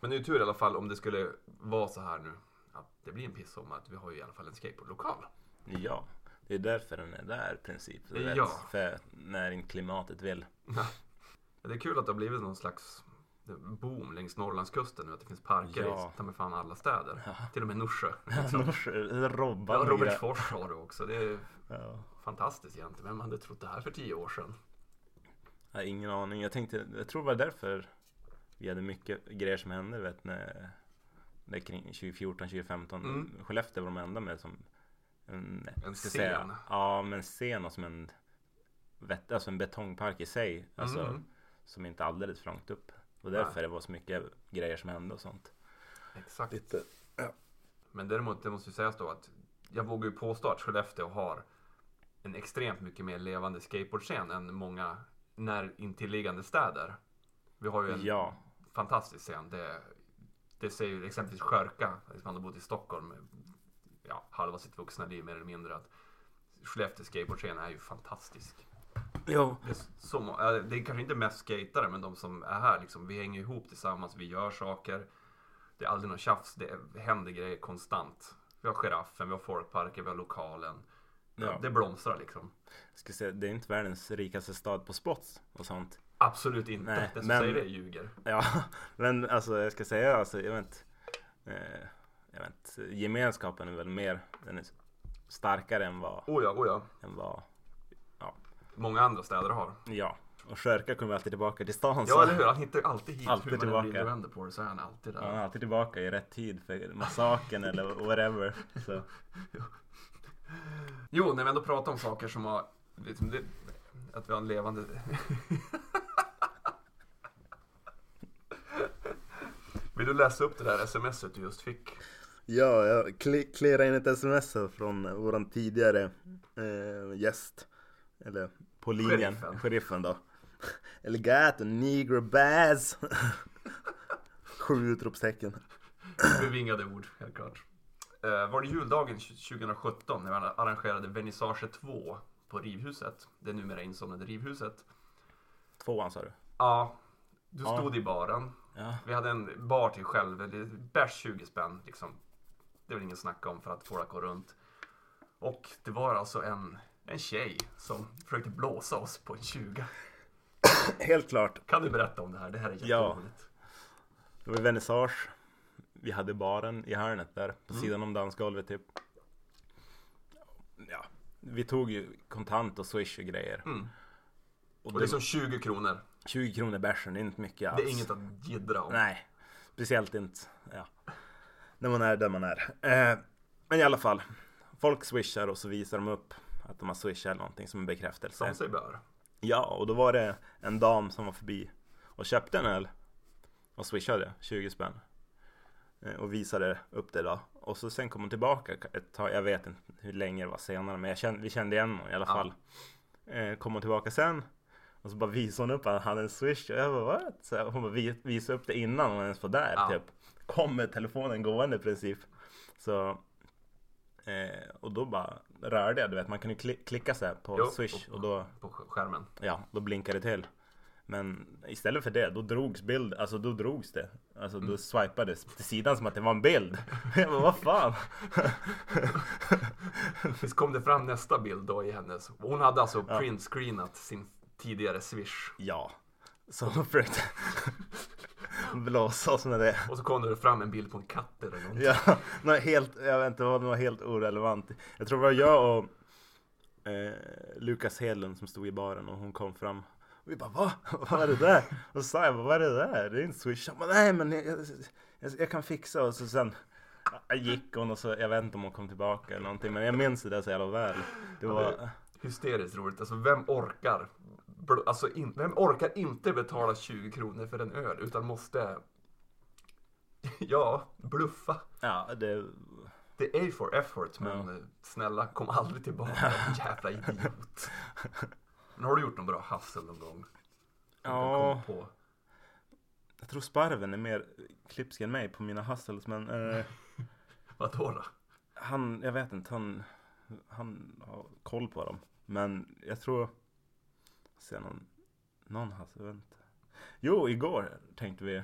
[SPEAKER 2] Men det är ju tur i alla fall om det skulle vara så här nu. Att det blir en pissommar, att vi har ju i alla fall en skateboardlokal.
[SPEAKER 1] ja, det är därför den är där i princip. Det är
[SPEAKER 2] Ja.
[SPEAKER 1] rätt För när inte klimatet (laughs) vill.
[SPEAKER 2] Ja, Det är kul att det har blivit någon slags boom längs Norrlandskusten nu. Att det finns parker
[SPEAKER 1] Ja.
[SPEAKER 2] i ta mig fan alla städer. Till och med Norsjö. Liksom.
[SPEAKER 1] Annars är det Robban
[SPEAKER 2] Ja,
[SPEAKER 1] och grejer.
[SPEAKER 2] Robertsfors har det också. Det är
[SPEAKER 1] Ja.
[SPEAKER 2] fantastiskt egentligen. Vem hade trott det här för tio år sedan?
[SPEAKER 1] Jag har ingen aning. Jag tänkte, jag tror det var därför vi hade mycket grejer som hände vet när det är kring 2014, 2015.
[SPEAKER 2] Mm.
[SPEAKER 1] Skellefteå var de enda med som en,
[SPEAKER 2] En
[SPEAKER 1] ska jag
[SPEAKER 2] scen.
[SPEAKER 1] ja, men en scen och som en, vet, alltså en betongpark i sig. Alltså,
[SPEAKER 2] Mm.
[SPEAKER 1] Som inte är alldeles för långt upp. Och därför det var så mycket grejer som hände och sånt.
[SPEAKER 2] Exakt. Men däremot, det måste ju sägas då att jag vågar ju påstå att Skellefteå har en extremt mycket mer levande skateboardscen än många när intilliggande städer. Vi har ju en
[SPEAKER 1] Ja,
[SPEAKER 2] fantastisk scen. Det, det ser ju exempelvis Skörka, liksom han har bott i Stockholm ja, halva sitt vuxna liv mer eller mindre. Att Skellefteå skateboardscen är ju fantastisk.
[SPEAKER 1] jo,
[SPEAKER 2] Det är, så, må- ja, det är kanske inte mest skatare men de som är här liksom, vi hänger ihop tillsammans, vi gör saker. Det är aldrig något tjafs, det är- händer grejer konstant. Vi har giraffen, vi har folkparken, vi har lokalen.
[SPEAKER 1] Ja.
[SPEAKER 2] Det blomstrar liksom.
[SPEAKER 1] jag ska säga, det är inte världens rikaste stad på spots och sånt.
[SPEAKER 2] Absolut inte.
[SPEAKER 1] Nej,
[SPEAKER 2] Den som
[SPEAKER 1] men-
[SPEAKER 2] säger det ljuger.
[SPEAKER 1] Ja, (laughs) men alltså jag ska säga alltså, jag vet, inte, eh, jag vet inte, gemenskapen är väl mer, den är starkare än vad,
[SPEAKER 2] Oh ja, oh ja.
[SPEAKER 1] än vad ja,
[SPEAKER 2] Många andra städer har.
[SPEAKER 1] ja. Och Sörka kommer alltid tillbaka till stan. så-
[SPEAKER 2] Ja, eller hur? Han hittar ju alltid hit.
[SPEAKER 1] Alltid
[SPEAKER 2] hur man än vrider
[SPEAKER 1] tillbaka.
[SPEAKER 2] och vänder på det så är han alltid där. (laughs)
[SPEAKER 1] Han är alltid tillbaka i rätt tid för massakern eller whatever. Så,
[SPEAKER 2] Jo, när vi ändå pratar om saker som har... Liksom, det, att vi har en levande... (laughs) Vill du läsa upp det där smset du just fick?
[SPEAKER 1] ja, jag kli- klirrade in ett sms här från våran tidigare eh, gäst. Eller på linjen,
[SPEAKER 2] Sheriffen.
[SPEAKER 1] sheriffen, då. Elgato negro bass. Sju utropstecken.
[SPEAKER 2] Bevingade ord, helt klart. Eh, var det juldagen 2017 när vi arrangerade vernissage 2 på Rivhuset? Det är numera insomnade Rivhuset.
[SPEAKER 1] Tvåan sa du?
[SPEAKER 2] Ja, du
[SPEAKER 1] Ja.
[SPEAKER 2] stod i baren.
[SPEAKER 1] Ja.
[SPEAKER 2] Vi hade en bar till själv, eller bärs 20 spänn liksom. Det är väl ingen snack om för att få det att gå runt. Och det var alltså en, en tjej som försökte blåsa oss på en 20.
[SPEAKER 1] Helt klart.
[SPEAKER 2] Kan du berätta om det här? Det här är
[SPEAKER 1] Ja.
[SPEAKER 2] jätteroligt.
[SPEAKER 1] Det var vernissage. Mm. Vi hade baren i hörnet där, på sidan om dansgolvet typ. Ja, vi tog ju kontant och swish och grejer. Mm. Och
[SPEAKER 2] Och
[SPEAKER 1] det,
[SPEAKER 2] det är som 20 kronor.
[SPEAKER 1] 20 kronor bärsen, det är inte mycket alls.
[SPEAKER 2] Det är inget att jiddra om.
[SPEAKER 1] Nej, speciellt inte. Ja. När man är där man är. Eh, men i alla fall, folk swishar och så visar de upp att de har swishat eller någonting som en bekräftelse.
[SPEAKER 2] Som sig bör.
[SPEAKER 1] Ja, och då var det en dam som var förbi och köpte en öl och swishade 20 spänn. Eh, Och visade upp det då. Och så sen kom hon tillbaka ett tag, jag vet inte hur länge det var senare, men jag kände, vi kände igen honom i alla
[SPEAKER 2] Ja.
[SPEAKER 1] fall. Eh, Kom hon tillbaka sen och så bara visade hon upp att han hade en swish och jag bara what? Så här, hon bara "Vi- visade upp det innan hon ens var där
[SPEAKER 2] Ja.
[SPEAKER 1] typ. Kom med telefonen gående i princip. Så, eh, och då bara rörde jag, du vet man kunde kli- klicka så här på
[SPEAKER 2] Jo,
[SPEAKER 1] swish
[SPEAKER 2] och-
[SPEAKER 1] och då
[SPEAKER 2] På sk- skärmen.
[SPEAKER 1] ja, då blinkade det till. Men istället för det, då drogs bild, alltså då drogs det. Alltså då swipades till sidan som att det var en bild. (laughs) Jag bara, vad fan? (laughs)
[SPEAKER 2] Visst kom det fram nästa bild då i hennes. Hon hade alltså printscreenat sin tidigare swish.
[SPEAKER 1] ja, så hon försökte (laughs) blåsa oss med det.
[SPEAKER 2] Och så kom det fram en bild på en katt eller någonting.
[SPEAKER 1] (laughs) Ja, nej, helt, jag vet inte vad, det var helt orelevant. Jag tror det var jag och eh, Lukas Hedlund som stod i baren och hon kom fram. Och vi bara va? Vad är det där? Och så sa jag bara, vad är det där? Det är inte swish. Han bara, nej men jag, jag, jag, jag kan fixa. Och så sen ja, gick hon och så, jag vet inte om hon kom tillbaka eller någonting. Men jag minns det där så jävla väl. Det var,
[SPEAKER 2] Hysteriskt roligt. Alltså vem orkar? bl- Alltså in, vem orkar inte betala 20 kronor för en öl utan måste... (laughs) Ja, bluffa.
[SPEAKER 1] ja det,
[SPEAKER 2] Det är for effort men eh, snälla kom aldrig tillbaka
[SPEAKER 1] (laughs)
[SPEAKER 2] jävla idiot. Men har du gjort någon bra hassel någon gång?
[SPEAKER 1] ja.
[SPEAKER 2] Kom På.
[SPEAKER 1] Jag tror sparven är mer klipsk än mig på mina hustles men eh,
[SPEAKER 2] Vadå då?
[SPEAKER 1] Han, jag vet inte, han, han har koll på dem. Men jag tror, ser någon, någon har, jag vet inte. Jo, igår tänkte vi,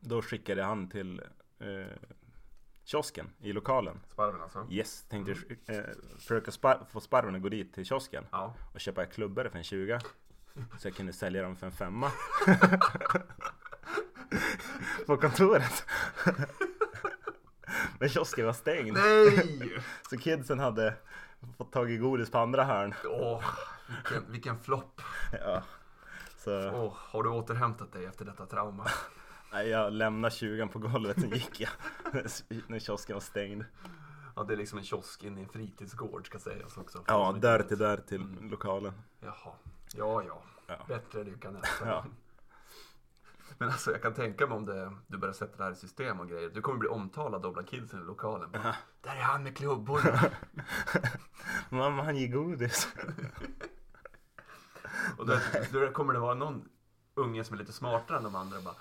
[SPEAKER 1] då skickade han till eh, kiosken i lokalen.
[SPEAKER 2] Sparven alltså?
[SPEAKER 1] Yes, tänkte eh, försöka spar- få sparven att gå dit till kiosken
[SPEAKER 2] Ja.
[SPEAKER 1] och köpa klubbor för en 20 Så jag kunde sälja dem för en femma. på kontoret. Men kiosken var stängd.
[SPEAKER 2] Nej!
[SPEAKER 1] Så kidsen hade fått tag i godis på andra hörn.
[SPEAKER 2] Åh, vilken, vilken flopp.
[SPEAKER 1] Ja. Så
[SPEAKER 2] Åh, har du återhämtat dig efter detta trauma?
[SPEAKER 1] nej, jag lämnade 20 på golvet, sen gick jag. (laughs) När kiosken var stängd.
[SPEAKER 2] Ja, det är liksom en kiosk inne i en fritidsgård ska sägas också.
[SPEAKER 1] Ja, dörr till dörr till lokalen.
[SPEAKER 2] Jaha, ja ja.
[SPEAKER 1] Ja.
[SPEAKER 2] Bättre lycka nästa
[SPEAKER 1] Ja.
[SPEAKER 2] gång. Men alltså jag kan tänka mig om det, du börjar sätta det här i system och grejer. Du kommer bli omtalad då bland kidsen i lokalen. Bara, Där är han med klubborna.
[SPEAKER 1] (laughs) Mamma, han ger godis.
[SPEAKER 2] och då, då kommer det vara någon unge som är lite smartare än de andra och bara.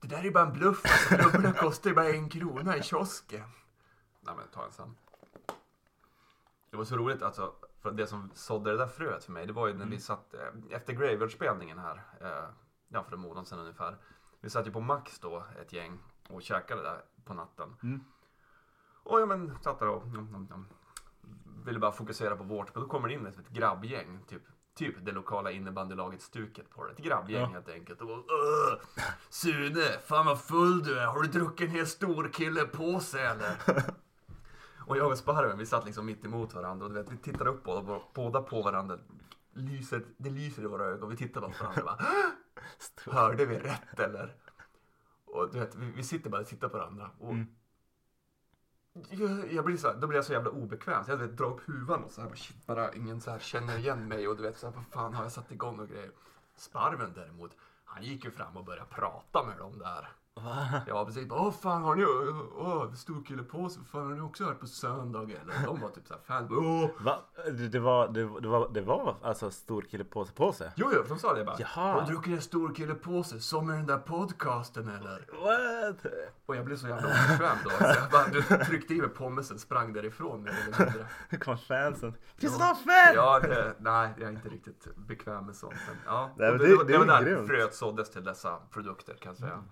[SPEAKER 2] Det där är ju bara en bluff. Alltså, klubborna kostar ju bara en krona i kiosken. Nej men ta en sån. Det var så roligt alltså. För det som sådde det där fröet för mig, det var ju när vi satt eh, efter Graveyard-spelningen här, eh, ja för en månad sedan ungefär. Vi satt ju på Max då, ett gäng, och käkade där på natten. Och ja men, satt där och nom, nom, nom. ville bara fokusera på vårt, men då kommer det in ett, ett grabbgäng, typ. Typ det lokala innebandylaget Stuket på det. Ett grabbgäng helt enkelt. Och bara, "Åh, Sune, fan vad full du är. Har du druckit en hel stor kille på sig eller? Och jag och Sparven, vi satt liksom mitt emot varandra och du vet, vi tittar upp båda, båda på varandra. Lyser, det lyser i våra ögon. Vi tittar bara på varandra och bara, Hörde vi rätt eller? Och du vet, vi, vi sitter bara och tittar på varandra. Och jag, jag blir så här, då blir jag så jävla obekväm. Så jag du vet, drar upp huvan och så här, bara, shit, bara ingen så här känner igen mig. Och du vet, så här, vad fan har jag satt igång och grejer. Sparven däremot, han gick ju fram och började prata med dem där. Ja precis, åh fan har ni, åh stor kille på sig, fan har ni också varit på söndag eller? De var typ såhär fans, åh!
[SPEAKER 1] Va? Det, det, var, det, det, var, det var alltså stor kille på, på sig?
[SPEAKER 2] Jo jo, för de sa det bara.
[SPEAKER 1] Jaha.
[SPEAKER 2] Har du druckit en stor kille på sig, som i den där podcasten eller?
[SPEAKER 1] What?
[SPEAKER 2] Och jag blev så jävla obekväm då. Så jag bara, du tryckte i mig pommesen, sprang därifrån mer
[SPEAKER 1] (laughs)
[SPEAKER 2] eller mindre.
[SPEAKER 1] Nu kom fansen. Kristoffer!
[SPEAKER 2] Ja, det, nej, jag är inte riktigt bekväm med sånt. Men, ja.
[SPEAKER 1] Nej, men
[SPEAKER 2] Och
[SPEAKER 1] det-
[SPEAKER 2] var-
[SPEAKER 1] det är
[SPEAKER 2] var där
[SPEAKER 1] grymt. Mm.
[SPEAKER 2] fröet såddes till dessa produkter kan jag säga.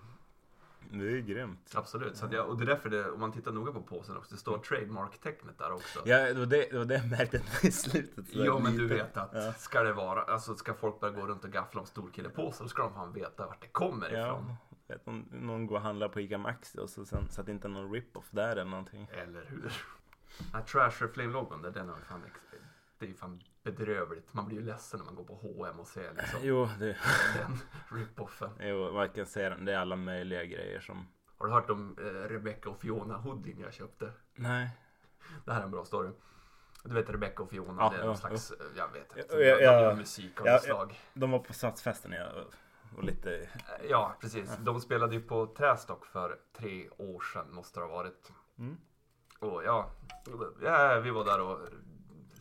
[SPEAKER 1] Det är grymt.
[SPEAKER 2] Absolut, så att jag, och det är därför det, om man tittar noga på påsen också, det står trademark-tecknet där också.
[SPEAKER 1] Mm. Ja, det var det, det, var det jag märkte i slutet. så där
[SPEAKER 2] Ja men du
[SPEAKER 1] lite.
[SPEAKER 2] vet att ska det vara, alltså ska folk börja gå runt och gaffla om storkillepåsar då ska de fan veta vart det kommer ifrån.
[SPEAKER 1] Ja, vet, någon, någon går och handlar på ICA Maxi och så, sen, så att det inte är någon rip-off där eller någonting.
[SPEAKER 2] Eller hur? Den här Trasher Flame-logon, där, den har ju fan, ex- det är ju fan bedrövligt. Man blir ju ledsen när man går på H&M och ser liksom
[SPEAKER 1] Jo, det,
[SPEAKER 2] den (laughs) rip-offen.
[SPEAKER 1] (laughs) jo, man kan säga det. Det är alla möjliga grejer som...
[SPEAKER 2] Har du hört om eh, Rebecca och Fiona-hoodien jag köpte?
[SPEAKER 1] Nej.
[SPEAKER 2] Det här är en bra story. Du vet Rebecca och Fiona,
[SPEAKER 1] Ja,
[SPEAKER 2] det är någon
[SPEAKER 1] ja,
[SPEAKER 2] slags, eh, jag vet inte,
[SPEAKER 1] Ja, ja, ja.
[SPEAKER 2] de gör musik av
[SPEAKER 1] Ja,
[SPEAKER 2] något
[SPEAKER 1] ja.
[SPEAKER 2] slag. Eh,
[SPEAKER 1] De var på satsfesten ja, och, och lite...
[SPEAKER 2] Ja, precis. De spelade ju på Trästock för tre år sedan, måste det ha varit. Och ja, ja, vi var där och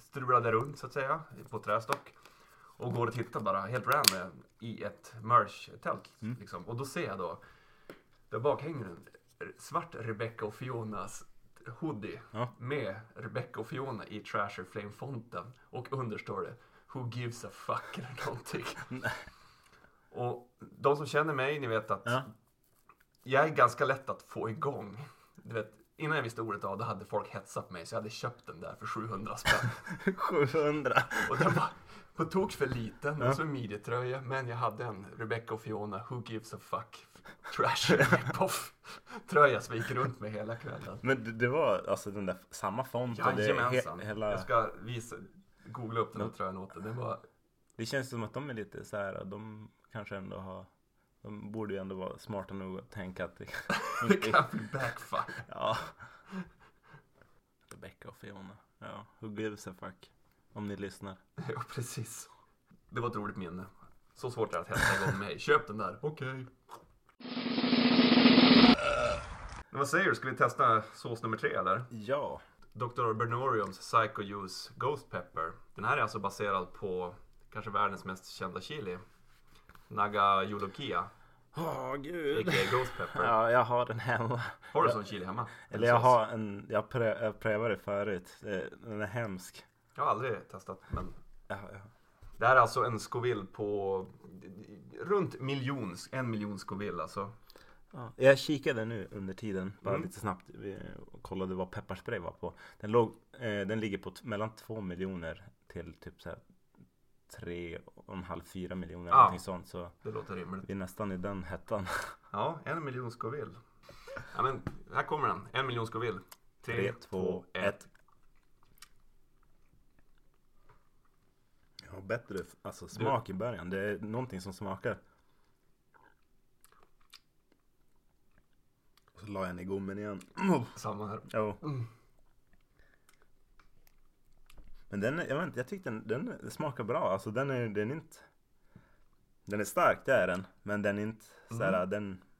[SPEAKER 2] strulade runt så att säga, på Trästock. Och går och tittar bara helt random i ett merch-tält.
[SPEAKER 1] Mm.
[SPEAKER 2] Liksom. Och då ser jag då, där bak hänger en svart Rebecca och Fionas hoodie
[SPEAKER 1] Ja.
[SPEAKER 2] med Rebecca och Fiona i Trasher Flame-fonten. Och under står det Who gives a fuck
[SPEAKER 1] (laughs)
[SPEAKER 2] eller någonting. Och de som känner mig, ni vet att
[SPEAKER 1] (laughs) Ja.
[SPEAKER 2] jag är ganska lätt att få igång. Du vet, innan jag visste ordet av, då hade folk hetsat mig så jag hade köpt den där för 700 spänn.
[SPEAKER 1] 700!
[SPEAKER 2] Och den var på tok för liten, och så en midjetröja, men jag hade en Rebecca och Fiona, Who Gives a Fuck, Trash Rip-Off tröja som jag gick runt med hela kvällen.
[SPEAKER 1] Men det, det var alltså den där samma font och det,
[SPEAKER 2] Jajamensan,
[SPEAKER 1] he- hela,
[SPEAKER 2] jag ska visa, googla upp den här tröjan åt dig. Den var
[SPEAKER 1] det känns som att de är lite så här, de kanske ändå har, de borde ju ändå vara smarta nog att tänka att det (laughs)
[SPEAKER 2] det (laughs) kan bli backfire.
[SPEAKER 1] Ja. Rebecca och Fiona. Ja, who gives a fuck? Om ni lyssnar.
[SPEAKER 2] (laughs) Ja, precis. Det var ett roligt minne. Så svårt är det att hetsa igång mig. Köp den där. Okej. Men vad säger du? Ska vi testa sås nummer tre eller?
[SPEAKER 1] Ja.
[SPEAKER 2] Dr. Bernoriums Psycho Juice Ghost Pepper. Den här är alltså baserad på kanske världens mest kända chili. Naga Yolokia,
[SPEAKER 1] Åh gud.
[SPEAKER 2] a.k.a. Ghost Pepper.
[SPEAKER 1] Ja, jag har den hemma.
[SPEAKER 2] Har du sån chili hemma?
[SPEAKER 1] Eller jag
[SPEAKER 2] sås?
[SPEAKER 1] har en, jag, prö, jag prövade förut. Eh, Den är hemsk.
[SPEAKER 2] Jag har aldrig testat men
[SPEAKER 1] Ja, ja.
[SPEAKER 2] Det här är alltså en Scoville på runt miljon, en miljon Scoville alltså.
[SPEAKER 1] Ja, Mm. Jag kikade nu under tiden, bara lite snabbt, vi kollade vad pepparspray var på. Den, låg, eh, den ligger på t- mellan 2 miljoner till typ så här 3,5-4 miljoner.
[SPEAKER 2] Ah.
[SPEAKER 1] Någonting sånt. Så
[SPEAKER 2] Det låter rimligt.
[SPEAKER 1] vi är nästan i den hettan. (laughs)
[SPEAKER 2] Ja, en miljon Scoville. Ja, men här kommer den. En miljon Scoville. Tre,
[SPEAKER 1] Tre,
[SPEAKER 2] två,
[SPEAKER 1] två,
[SPEAKER 2] ett.
[SPEAKER 1] ett. Jag har bättre f- alltså, smak i början. Det är någonting som smakar. Och så la jag den i gommen igen. (clears throat)
[SPEAKER 2] Samma här.
[SPEAKER 1] Jo. Men den, är- jag vet inte, jag tyckte den, den, den smakar bra. Alltså den är, den är inte... Den är stark, det är den. Men den är inte såhär, den... (laughs)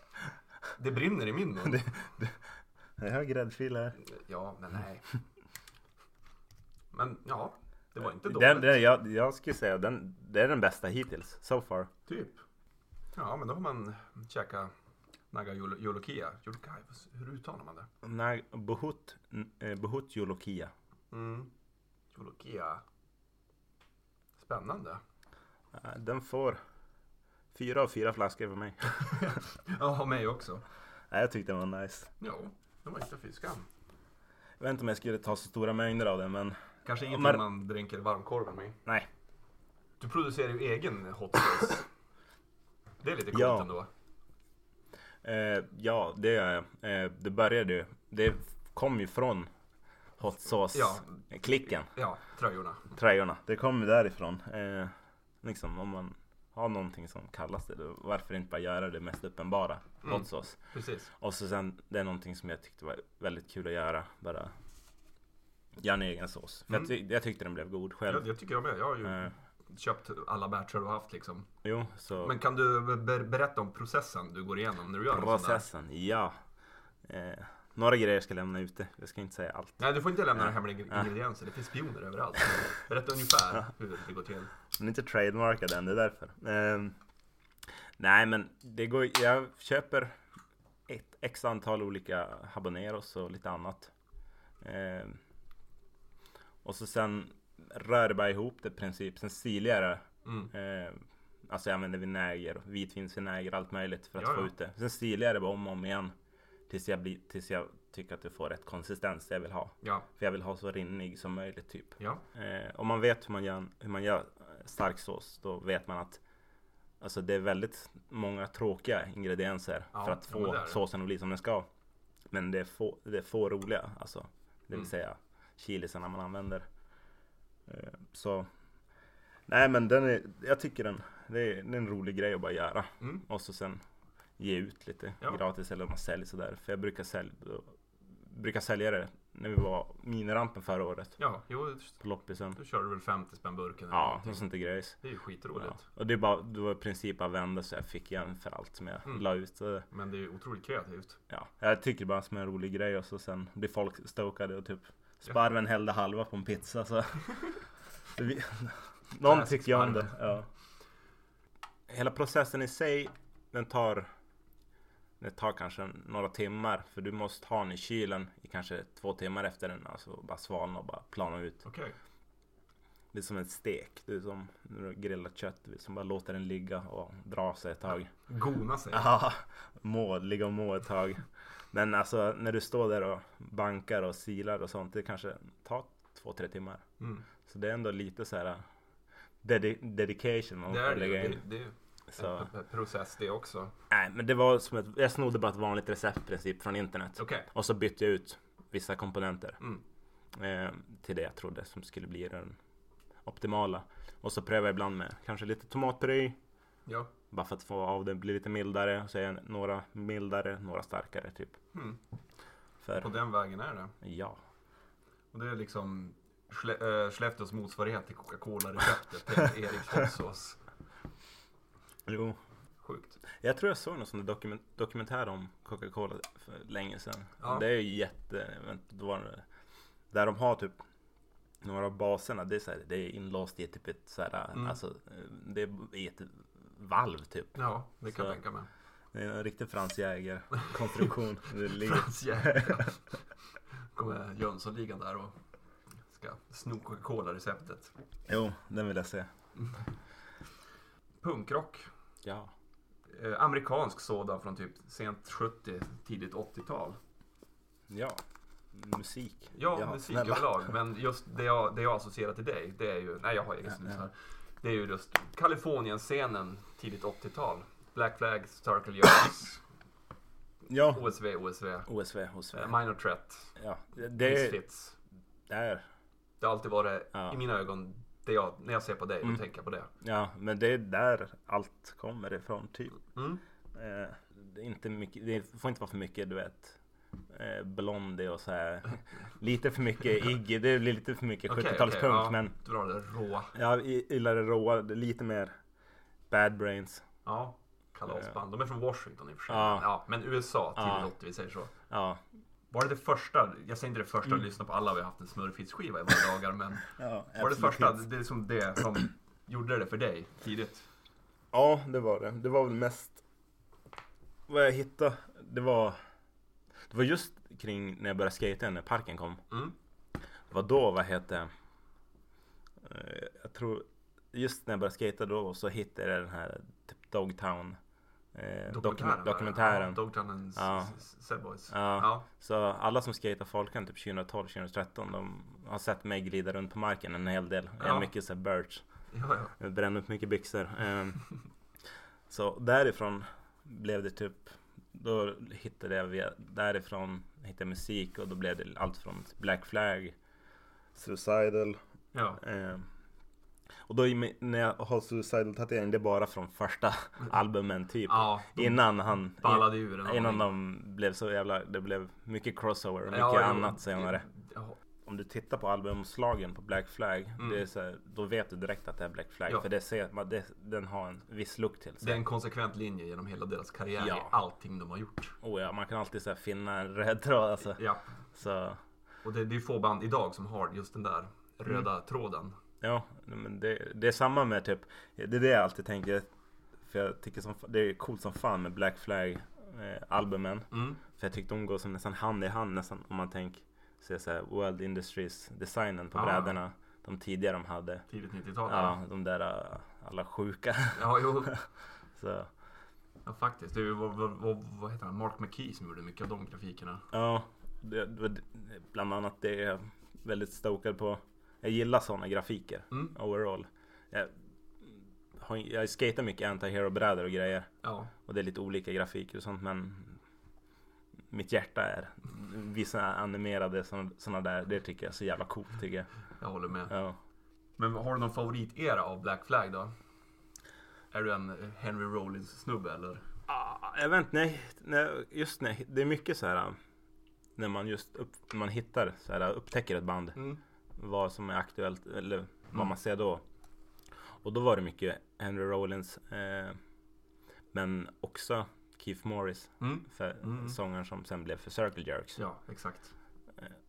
[SPEAKER 2] (laughs) Det brinner i min mun.
[SPEAKER 1] Jag har gräddfil här.
[SPEAKER 2] Ja, men nej. Men ja, det var inte dåligt.
[SPEAKER 1] Den, den, jag, jag skulle säga den, det är den bästa hittills, so far.
[SPEAKER 2] Typ. Ja, men då har man käkat Naga Yolo- Yolokia. Yolokai, hur uttalar man det?
[SPEAKER 1] När Bohut, eh, Bohut Yolokia.
[SPEAKER 2] Mm. Yolokia. Spännande.
[SPEAKER 1] Eh, Den får fyra av fyra flaskor för mig. (laughs)
[SPEAKER 2] Ja, mig också.
[SPEAKER 1] Nej, jag tyckte den var nice.
[SPEAKER 2] Jo, det var inte fy skam.
[SPEAKER 1] Jag vet inte om jag skulle ta så stora mängder av den, men
[SPEAKER 2] Kanske ingenting
[SPEAKER 1] men-
[SPEAKER 2] man dränker varmkorven med.
[SPEAKER 1] nej.
[SPEAKER 2] Du producerar ju egen hot sauce. Det är lite coolt
[SPEAKER 1] Ja.
[SPEAKER 2] ändå.
[SPEAKER 1] Eh, ja, det gör jag. Eh, det började ju. Det kom ju från hot
[SPEAKER 2] Ja.
[SPEAKER 1] sauce-klicken,
[SPEAKER 2] Ja, tröjorna.
[SPEAKER 1] tröjorna. Det kom ju därifrån. Eh, liksom om man har någonting som kallas det, då varför inte bara göra det mest uppenbara?
[SPEAKER 2] Mm.
[SPEAKER 1] Hot sauce.
[SPEAKER 2] Precis.
[SPEAKER 1] Och så sen, det är någonting som jag tyckte var väldigt kul att göra. Bara göra en egen sås. För jag, ty- jag tyckte den blev god
[SPEAKER 2] Jag,
[SPEAKER 1] själv.
[SPEAKER 2] jag tycker jag med. Jag har ju
[SPEAKER 1] Eh,
[SPEAKER 2] köpt alla batcher du har haft liksom.
[SPEAKER 1] jo, så...
[SPEAKER 2] Men kan du ber- berätta om processen du går igenom när du gör en sån där?
[SPEAKER 1] processen, ja. Eh, några grejer ska jag lämna ute. Jag ska inte säga allt.
[SPEAKER 2] Nej, du får inte
[SPEAKER 1] Eh.
[SPEAKER 2] lämna några hemliga ing- ingredienser. Det finns spioner överallt. Berätta
[SPEAKER 1] Eh.
[SPEAKER 2] ungefär hur det går till.
[SPEAKER 1] Den är inte trademarkad än, det är därför. Ehm, nej, men det går, jag köper ett x antal olika habaneros och lite annat. Ehm,
[SPEAKER 2] Mm.
[SPEAKER 1] och så sen rör jag bara ihop det i princip. Sen silar jag det. Ehm, Alltså jag använder vinäger, vitvinsvinäger, allt möjligt för att
[SPEAKER 2] Ja,
[SPEAKER 1] få
[SPEAKER 2] ja.
[SPEAKER 1] ut det. Sen stilar jag det bara om och om igen. Tills jag, blir, tills jag tycker att det får rätt konsistens jag vill ha.
[SPEAKER 2] Ja,
[SPEAKER 1] För jag vill ha så rinnig som möjligt typ.
[SPEAKER 2] ja,
[SPEAKER 1] Eh, om man vet hur man gör, hur man gör eh, stark sås, då vet man att alltså, det är väldigt många tråkiga ingredienser
[SPEAKER 2] Ja,
[SPEAKER 1] för att
[SPEAKER 2] jo, men
[SPEAKER 1] få
[SPEAKER 2] det är det.
[SPEAKER 1] såsen att bli som den ska. Men det är få, det är få roliga, alltså. Det
[SPEAKER 2] Mm.
[SPEAKER 1] vill säga chilisarna man använder. Eh, så nej, men den är, jag tycker den, det är, det är en rolig grej att bara göra.
[SPEAKER 2] Mm.
[SPEAKER 1] Och så sen ge ut lite
[SPEAKER 2] Ja.
[SPEAKER 1] gratis eller om man säljer sådär. För jag brukar sälja, brukar sälja det när vi var minirampen förra året
[SPEAKER 2] ja, jo,
[SPEAKER 1] på loppisen.
[SPEAKER 2] då körde du väl 50 spänn burken eller
[SPEAKER 1] Ja,
[SPEAKER 2] någonting.
[SPEAKER 1] något sånt där grejs.
[SPEAKER 2] Det är ju
[SPEAKER 1] Ja.
[SPEAKER 2] skitroligt.
[SPEAKER 1] Och det, är bara, det var i princip bara vända så jag fick igen för allt som jag
[SPEAKER 2] Mm.
[SPEAKER 1] la ut. Så,
[SPEAKER 2] Men det är ju otroligt kreativt.
[SPEAKER 1] ja. Jag tycker bara som en rolig grej och så sen blir folk stokade och typ sparven hällde halva på en pizza så. Det vi- Någon
[SPEAKER 2] Läsk
[SPEAKER 1] tycker jag om det.
[SPEAKER 2] sparven.
[SPEAKER 1] Ja. Hela processen i sig den tar det tar kanske några timmar för du måste ha den i kylen i kanske två timmar efter den. Alltså bara svalna och bara plana ut.
[SPEAKER 2] Okej.
[SPEAKER 1] Det är som en stek. Det är som när du har grillat kött. Du liksom bara låter den ligga och dra sig ett tag.
[SPEAKER 2] Gona sig.
[SPEAKER 1] Ja, må, ligga och må ett tag. Men alltså när du står där och bankar och silar och sånt. Det kanske tar två, tre timmar.
[SPEAKER 2] Mm.
[SPEAKER 1] Så det är ändå lite så här dedi- dedication man
[SPEAKER 2] Det är
[SPEAKER 1] får
[SPEAKER 2] det ju.
[SPEAKER 1] lägga
[SPEAKER 2] Det,
[SPEAKER 1] in.
[SPEAKER 2] det är ju
[SPEAKER 1] Så,
[SPEAKER 2] en process det också.
[SPEAKER 1] nej, men det var som ett, jag snodde bara ett vanligt receptprincip från internet.
[SPEAKER 2] Okej.
[SPEAKER 1] Och så bytte jag ut vissa komponenter
[SPEAKER 2] Mm.
[SPEAKER 1] eh, till det jag trodde som skulle bli den optimala. Och så prövar jag ibland med kanske lite tomatpuré.
[SPEAKER 2] Ja.
[SPEAKER 1] Bara för att få av det, bli lite mildare. Så är jag några mildare, några starkare typ.
[SPEAKER 2] Mm. På
[SPEAKER 1] För,
[SPEAKER 2] den vägen är det.
[SPEAKER 1] ja.
[SPEAKER 2] Och det är liksom Schle- eh, Skellefteås motsvarighet till Coca-Cola-receptet.
[SPEAKER 1] (laughs)
[SPEAKER 2] till Erik Hoffsås.
[SPEAKER 1] Jo.
[SPEAKER 2] Sjukt.
[SPEAKER 1] Jag tror jag såg någon sån där dokument, dokumentär om Coca-Cola för länge sedan.
[SPEAKER 2] Ja.
[SPEAKER 1] Det är ju jätte... vänta, Då var det, där de har typ några av baserna. Det är, så här, det är inlåst i typ ett så här,
[SPEAKER 2] Mm.
[SPEAKER 1] alltså, eh, det är i ett valv typ.
[SPEAKER 2] Ja, det kan
[SPEAKER 1] Så-
[SPEAKER 2] jag tänka mig.
[SPEAKER 1] Det är en riktig Franz
[SPEAKER 2] (laughs)
[SPEAKER 1] Jäger-konstruktion. det ligger
[SPEAKER 2] Frans jäkla. Kommer Jönssonligan där och ska sno Coca-Cola-receptet.
[SPEAKER 1] Jo, den vill jag se.
[SPEAKER 2] Punkrock.
[SPEAKER 1] Ja.
[SPEAKER 2] Eh, amerikansk sådan från typ sent 70, tidigt 80-tal.
[SPEAKER 1] Ja. Musik.
[SPEAKER 2] Ja, musik överlag. Men just det jag, det jag associerar till dig, det är ju, nej jag har egen snus här. Det är ju just Kalifornien-scenen, tidigt 80-tal. Black Flag,
[SPEAKER 1] (coughs)
[SPEAKER 2] Circle Jones,
[SPEAKER 1] Ja.
[SPEAKER 2] OSV, OSV, eh,
[SPEAKER 1] OSV, OSV.
[SPEAKER 2] Minor Threat,
[SPEAKER 1] Ja. Det
[SPEAKER 2] Misfits.
[SPEAKER 1] där.
[SPEAKER 2] Det har alltid varit,
[SPEAKER 1] Ja. Mm.
[SPEAKER 2] i mina ögon, det jag, när jag ser på dig, då tänker jag på det.
[SPEAKER 1] Ja, men det är där allt kommer ifrån typ.
[SPEAKER 2] Mm.
[SPEAKER 1] Eh, det, är inte mycket, det får inte vara för mycket, du vet. Eh, Blondie och så här. (laughs) Lite för mycket Iggy. Det blir lite för mycket
[SPEAKER 2] Okej,
[SPEAKER 1] 70-talspunk.
[SPEAKER 2] okej, ja,
[SPEAKER 1] Men
[SPEAKER 2] Du drar det råa.
[SPEAKER 1] jag gillar det råa. Det är lite mer bad brains.
[SPEAKER 2] Ja, kalasband. De är från Washington i och för sig.
[SPEAKER 1] Ja.
[SPEAKER 2] Ja, men USA, tidigt
[SPEAKER 1] Ja.
[SPEAKER 2] 80, vi säger så.
[SPEAKER 1] Ja.
[SPEAKER 2] Var det det första, jag säger inte det första, lyssna på alla, vi har haft en smörfiskskiva i våra dagar, men
[SPEAKER 1] Mm. ja
[SPEAKER 2] var det första, det är liksom det som (clears throat) gjorde det för dig tidigt?
[SPEAKER 1] Ja, det var det. Det var väl mest vad jag hittade. Det var, det var just kring när jag började skata när parken kom.
[SPEAKER 2] Mm.
[SPEAKER 1] Det var då, vad hette eh, Jag tror just när jag började skata då så hittade jag den här typ Dogtown eh, dokumentären.
[SPEAKER 2] där,
[SPEAKER 1] dokumentären.
[SPEAKER 2] Ja, Dogtown
[SPEAKER 1] Ja.
[SPEAKER 2] and Sad Boys.
[SPEAKER 1] Ja.
[SPEAKER 2] Ja.
[SPEAKER 1] Så alla som skater Folkan typ 2012-2013 de har sett mig glida runt på marken en hel del. Jag
[SPEAKER 2] Ja.
[SPEAKER 1] är mycket så här birch.
[SPEAKER 2] Ja, ja.
[SPEAKER 1] Jag brände upp mycket byxor. Ehm, Så därifrån blev det typ... Då hittade jag via, därifrån hittade jag musik och då blev det allt från Black Flag.
[SPEAKER 4] Suicidal.
[SPEAKER 2] ja.
[SPEAKER 1] ehm, Och då i mi- när jag har Suicidal tatuering det är bara från
[SPEAKER 2] (laughs)
[SPEAKER 1] första albumen typ.
[SPEAKER 2] Ja, de
[SPEAKER 1] innan han...
[SPEAKER 2] ballade ur en
[SPEAKER 1] Innan
[SPEAKER 2] aning.
[SPEAKER 1] de blev så jävla... Det blev mycket crossover och mycket
[SPEAKER 2] Ja, jo,
[SPEAKER 1] annat senare.
[SPEAKER 2] Ja,
[SPEAKER 1] Om du tittar på albumslagen på Black Flag,
[SPEAKER 2] Mm.
[SPEAKER 1] det är så här, då vet du direkt att det är Black Flag.
[SPEAKER 2] Ja.
[SPEAKER 1] För det ser, man- det, den har en viss look till sig.
[SPEAKER 2] det är en konsekvent linje genom hela deras karriär
[SPEAKER 1] Ja.
[SPEAKER 2] i allting de har gjort.
[SPEAKER 1] Oh ja, man kan alltid så här finna en röd tråd alltså.
[SPEAKER 2] Ja.
[SPEAKER 1] Så
[SPEAKER 2] Och det, det är få band idag som har just den där röda
[SPEAKER 1] Mm.
[SPEAKER 2] tråden.
[SPEAKER 1] ja, men det, det är samma med typ, det är det jag alltid tänker. För jag tycker som, det är coolt som fan med Black Flag eh, albumen.
[SPEAKER 2] Mm.
[SPEAKER 1] För jag tyckte de går som nästan hand i hand nästan om man tänker se så här World Industries designen på
[SPEAKER 2] Ah.
[SPEAKER 1] brädorna. de tidigare de hade.
[SPEAKER 2] Tidigt 90-tal.
[SPEAKER 1] Ja, de där eh, alla sjuka.
[SPEAKER 2] ja jo.
[SPEAKER 1] (laughs) Så,
[SPEAKER 2] Ja, faktiskt. Det är ju, vad, vad, vad, vad heter han? Mark McKee som gjorde mycket av de grafikerna.
[SPEAKER 1] ja, det, det, var bland annat det är jag väldigt stokad på. Jag gillar sådana grafiker
[SPEAKER 2] Mm.
[SPEAKER 1] overall. Jag, har- jag skatar mycket anti-hero brädor och grejer.
[SPEAKER 2] Ja,
[SPEAKER 1] Och det är lite olika grafiker och sånt men mitt hjärta är vissa animerade sådana där, det tycker jag är så jävla coolt tycker jag.
[SPEAKER 2] jag håller med.
[SPEAKER 1] Ja.
[SPEAKER 2] Men har du någon favoritera av Black Flag då? Är du en Henry Rollins-snubbe eller?
[SPEAKER 1] Ah, jag vet inte, nej, nej, just nej, det är mycket så här ah, när man just upp, man hittar, så här, ah, upptäcker ett band,
[SPEAKER 2] Mm.
[SPEAKER 1] vad som är aktuellt eller vad man ser då. Och då var det mycket Henry Rollins, eh, men också Keith Morris,
[SPEAKER 2] Mm.
[SPEAKER 1] för,
[SPEAKER 2] Mm.
[SPEAKER 1] sångaren som sen blev för Circle Jerks.
[SPEAKER 2] Ja, exakt.